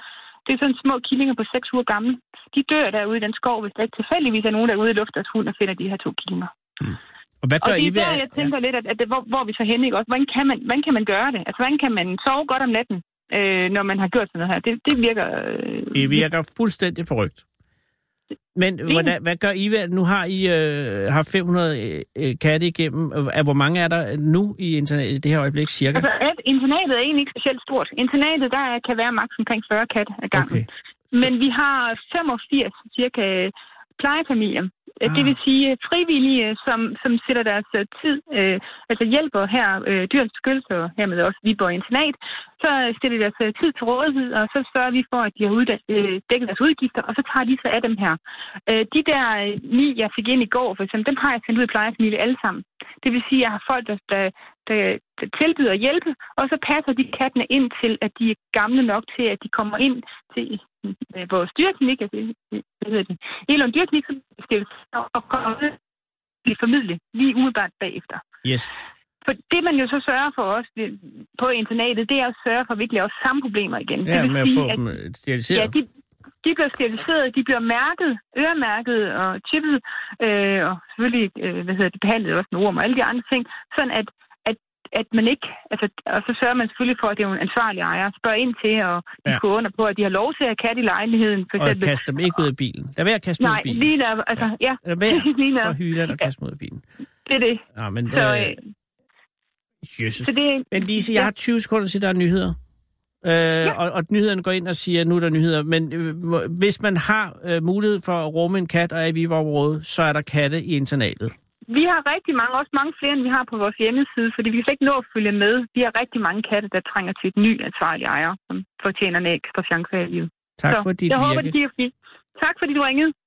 Speaker 9: Det er sådan små killinger på seks uger gamle. De dør derude i den skov, hvis der ikke tilfældigvis er nogen, der er ude i luft deres hund og finder de her to killinger.
Speaker 3: og hvad
Speaker 9: Og
Speaker 3: gør
Speaker 9: det
Speaker 3: I
Speaker 9: er
Speaker 3: ved...
Speaker 9: der, jeg tænker ja. lidt, at, at det, hvor, hvor er vi så henne, ikke også? Hvordan kan, man, hvordan kan man gøre det? Altså, hvordan kan man sove godt om natten, øh, når man har gjort sådan noget her? Det, det virker... Øh,
Speaker 3: Det virker fuldstændig forrygt. Men hvordan, hvad gør I ved, nu har I øh, haft 500 øh, katte igennem. Er, hvor mange er der nu i internet i det her øjeblik cirka?
Speaker 9: Altså, at internatet er egentlig ikke specielt stort. Internatet, der kan være maks omkring 40 katte ad gangen.
Speaker 3: Okay.
Speaker 9: Okay. Men vi har 85 cirka plejefamilier. Ah. Det vil sige øh, frivillige, som, som sætter deres øh, tid, øh, altså hjælper her, øh, dyrens beskyttelse og hermed også Viborg Internat, så øh, stiller de deres øh, tid til rådighed, og så sørger vi for, at de har udda- øh, dækket deres udgifter, og så tager de sig af dem her. Øh, de der øh, ni, jeg fik ind i går, for eksempel, dem har jeg sendt ud i plejefamilie alle sammen. Det vil sige, at jeg har folk, der, der, der der tilbyder hjælpe, og så passer de kattene ind til, at de er gamle nok til, at de kommer ind til øh, vores dyrklinik, altså, øh, hvad hedder det, Elon Dyrklinik, som skal og kommer ud og formidle lige umiddelbart bagefter.
Speaker 3: Yes.
Speaker 9: For det, man jo så sørger for os det- på internatet, det er at sørge for, at vi ikke laver samme problemer igen. Det
Speaker 3: Ja,
Speaker 9: vil
Speaker 3: med at
Speaker 9: sige,
Speaker 3: få dem øh, steriliseret.
Speaker 9: Ja, de, de bliver steriliseret, de bliver mærket, øremærket og chippet, øh, og selvfølgelig, øh, hvad hedder det, behandlet også med orm og alle de andre ting, sådan at, at, at man ikke, altså, og så sørger man selvfølgelig for, at det er jo en ansvarlig ejer, spørger ind til, og de
Speaker 3: Ja.
Speaker 9: ja. under på, at de har lov til at have kat i lejligheden, for
Speaker 3: og
Speaker 9: eksempel.
Speaker 3: kaste dem ikke ud af bilen. Lad være at kaste dem ud
Speaker 9: Nej,
Speaker 3: af bilen.
Speaker 9: lige der, altså, ja,
Speaker 3: Lad være
Speaker 9: lige der.
Speaker 3: for hylderne at kaste dem ud af bilen.
Speaker 9: det er det.
Speaker 3: Nå, men,
Speaker 9: Så,
Speaker 3: øh,
Speaker 9: øh,
Speaker 3: Jesus.
Speaker 9: så det er...
Speaker 3: Men Lise, jeg
Speaker 9: Ja.
Speaker 3: har 20 sekunder til, der er nyheder. Øh, og, og nyhederne går ind og siger, at nu er der nyheder. Men øh, må- hvis man har øh, mulighed for at rumme en kat og er i Viborg-området, så er der katte i internatet.
Speaker 9: Vi har rigtig mange, også mange flere, end vi har på vores hjemmeside, fordi vi kan slet ikke nå at følge med. Vi har rigtig mange katte, der trænger til et ny ansvarlig ejer, som fortjener en ekstra chance af livet.
Speaker 3: Tak
Speaker 9: Så
Speaker 3: for dit
Speaker 9: jeg
Speaker 3: virke.
Speaker 9: håber, det giver fri. Tak fordi du ringede.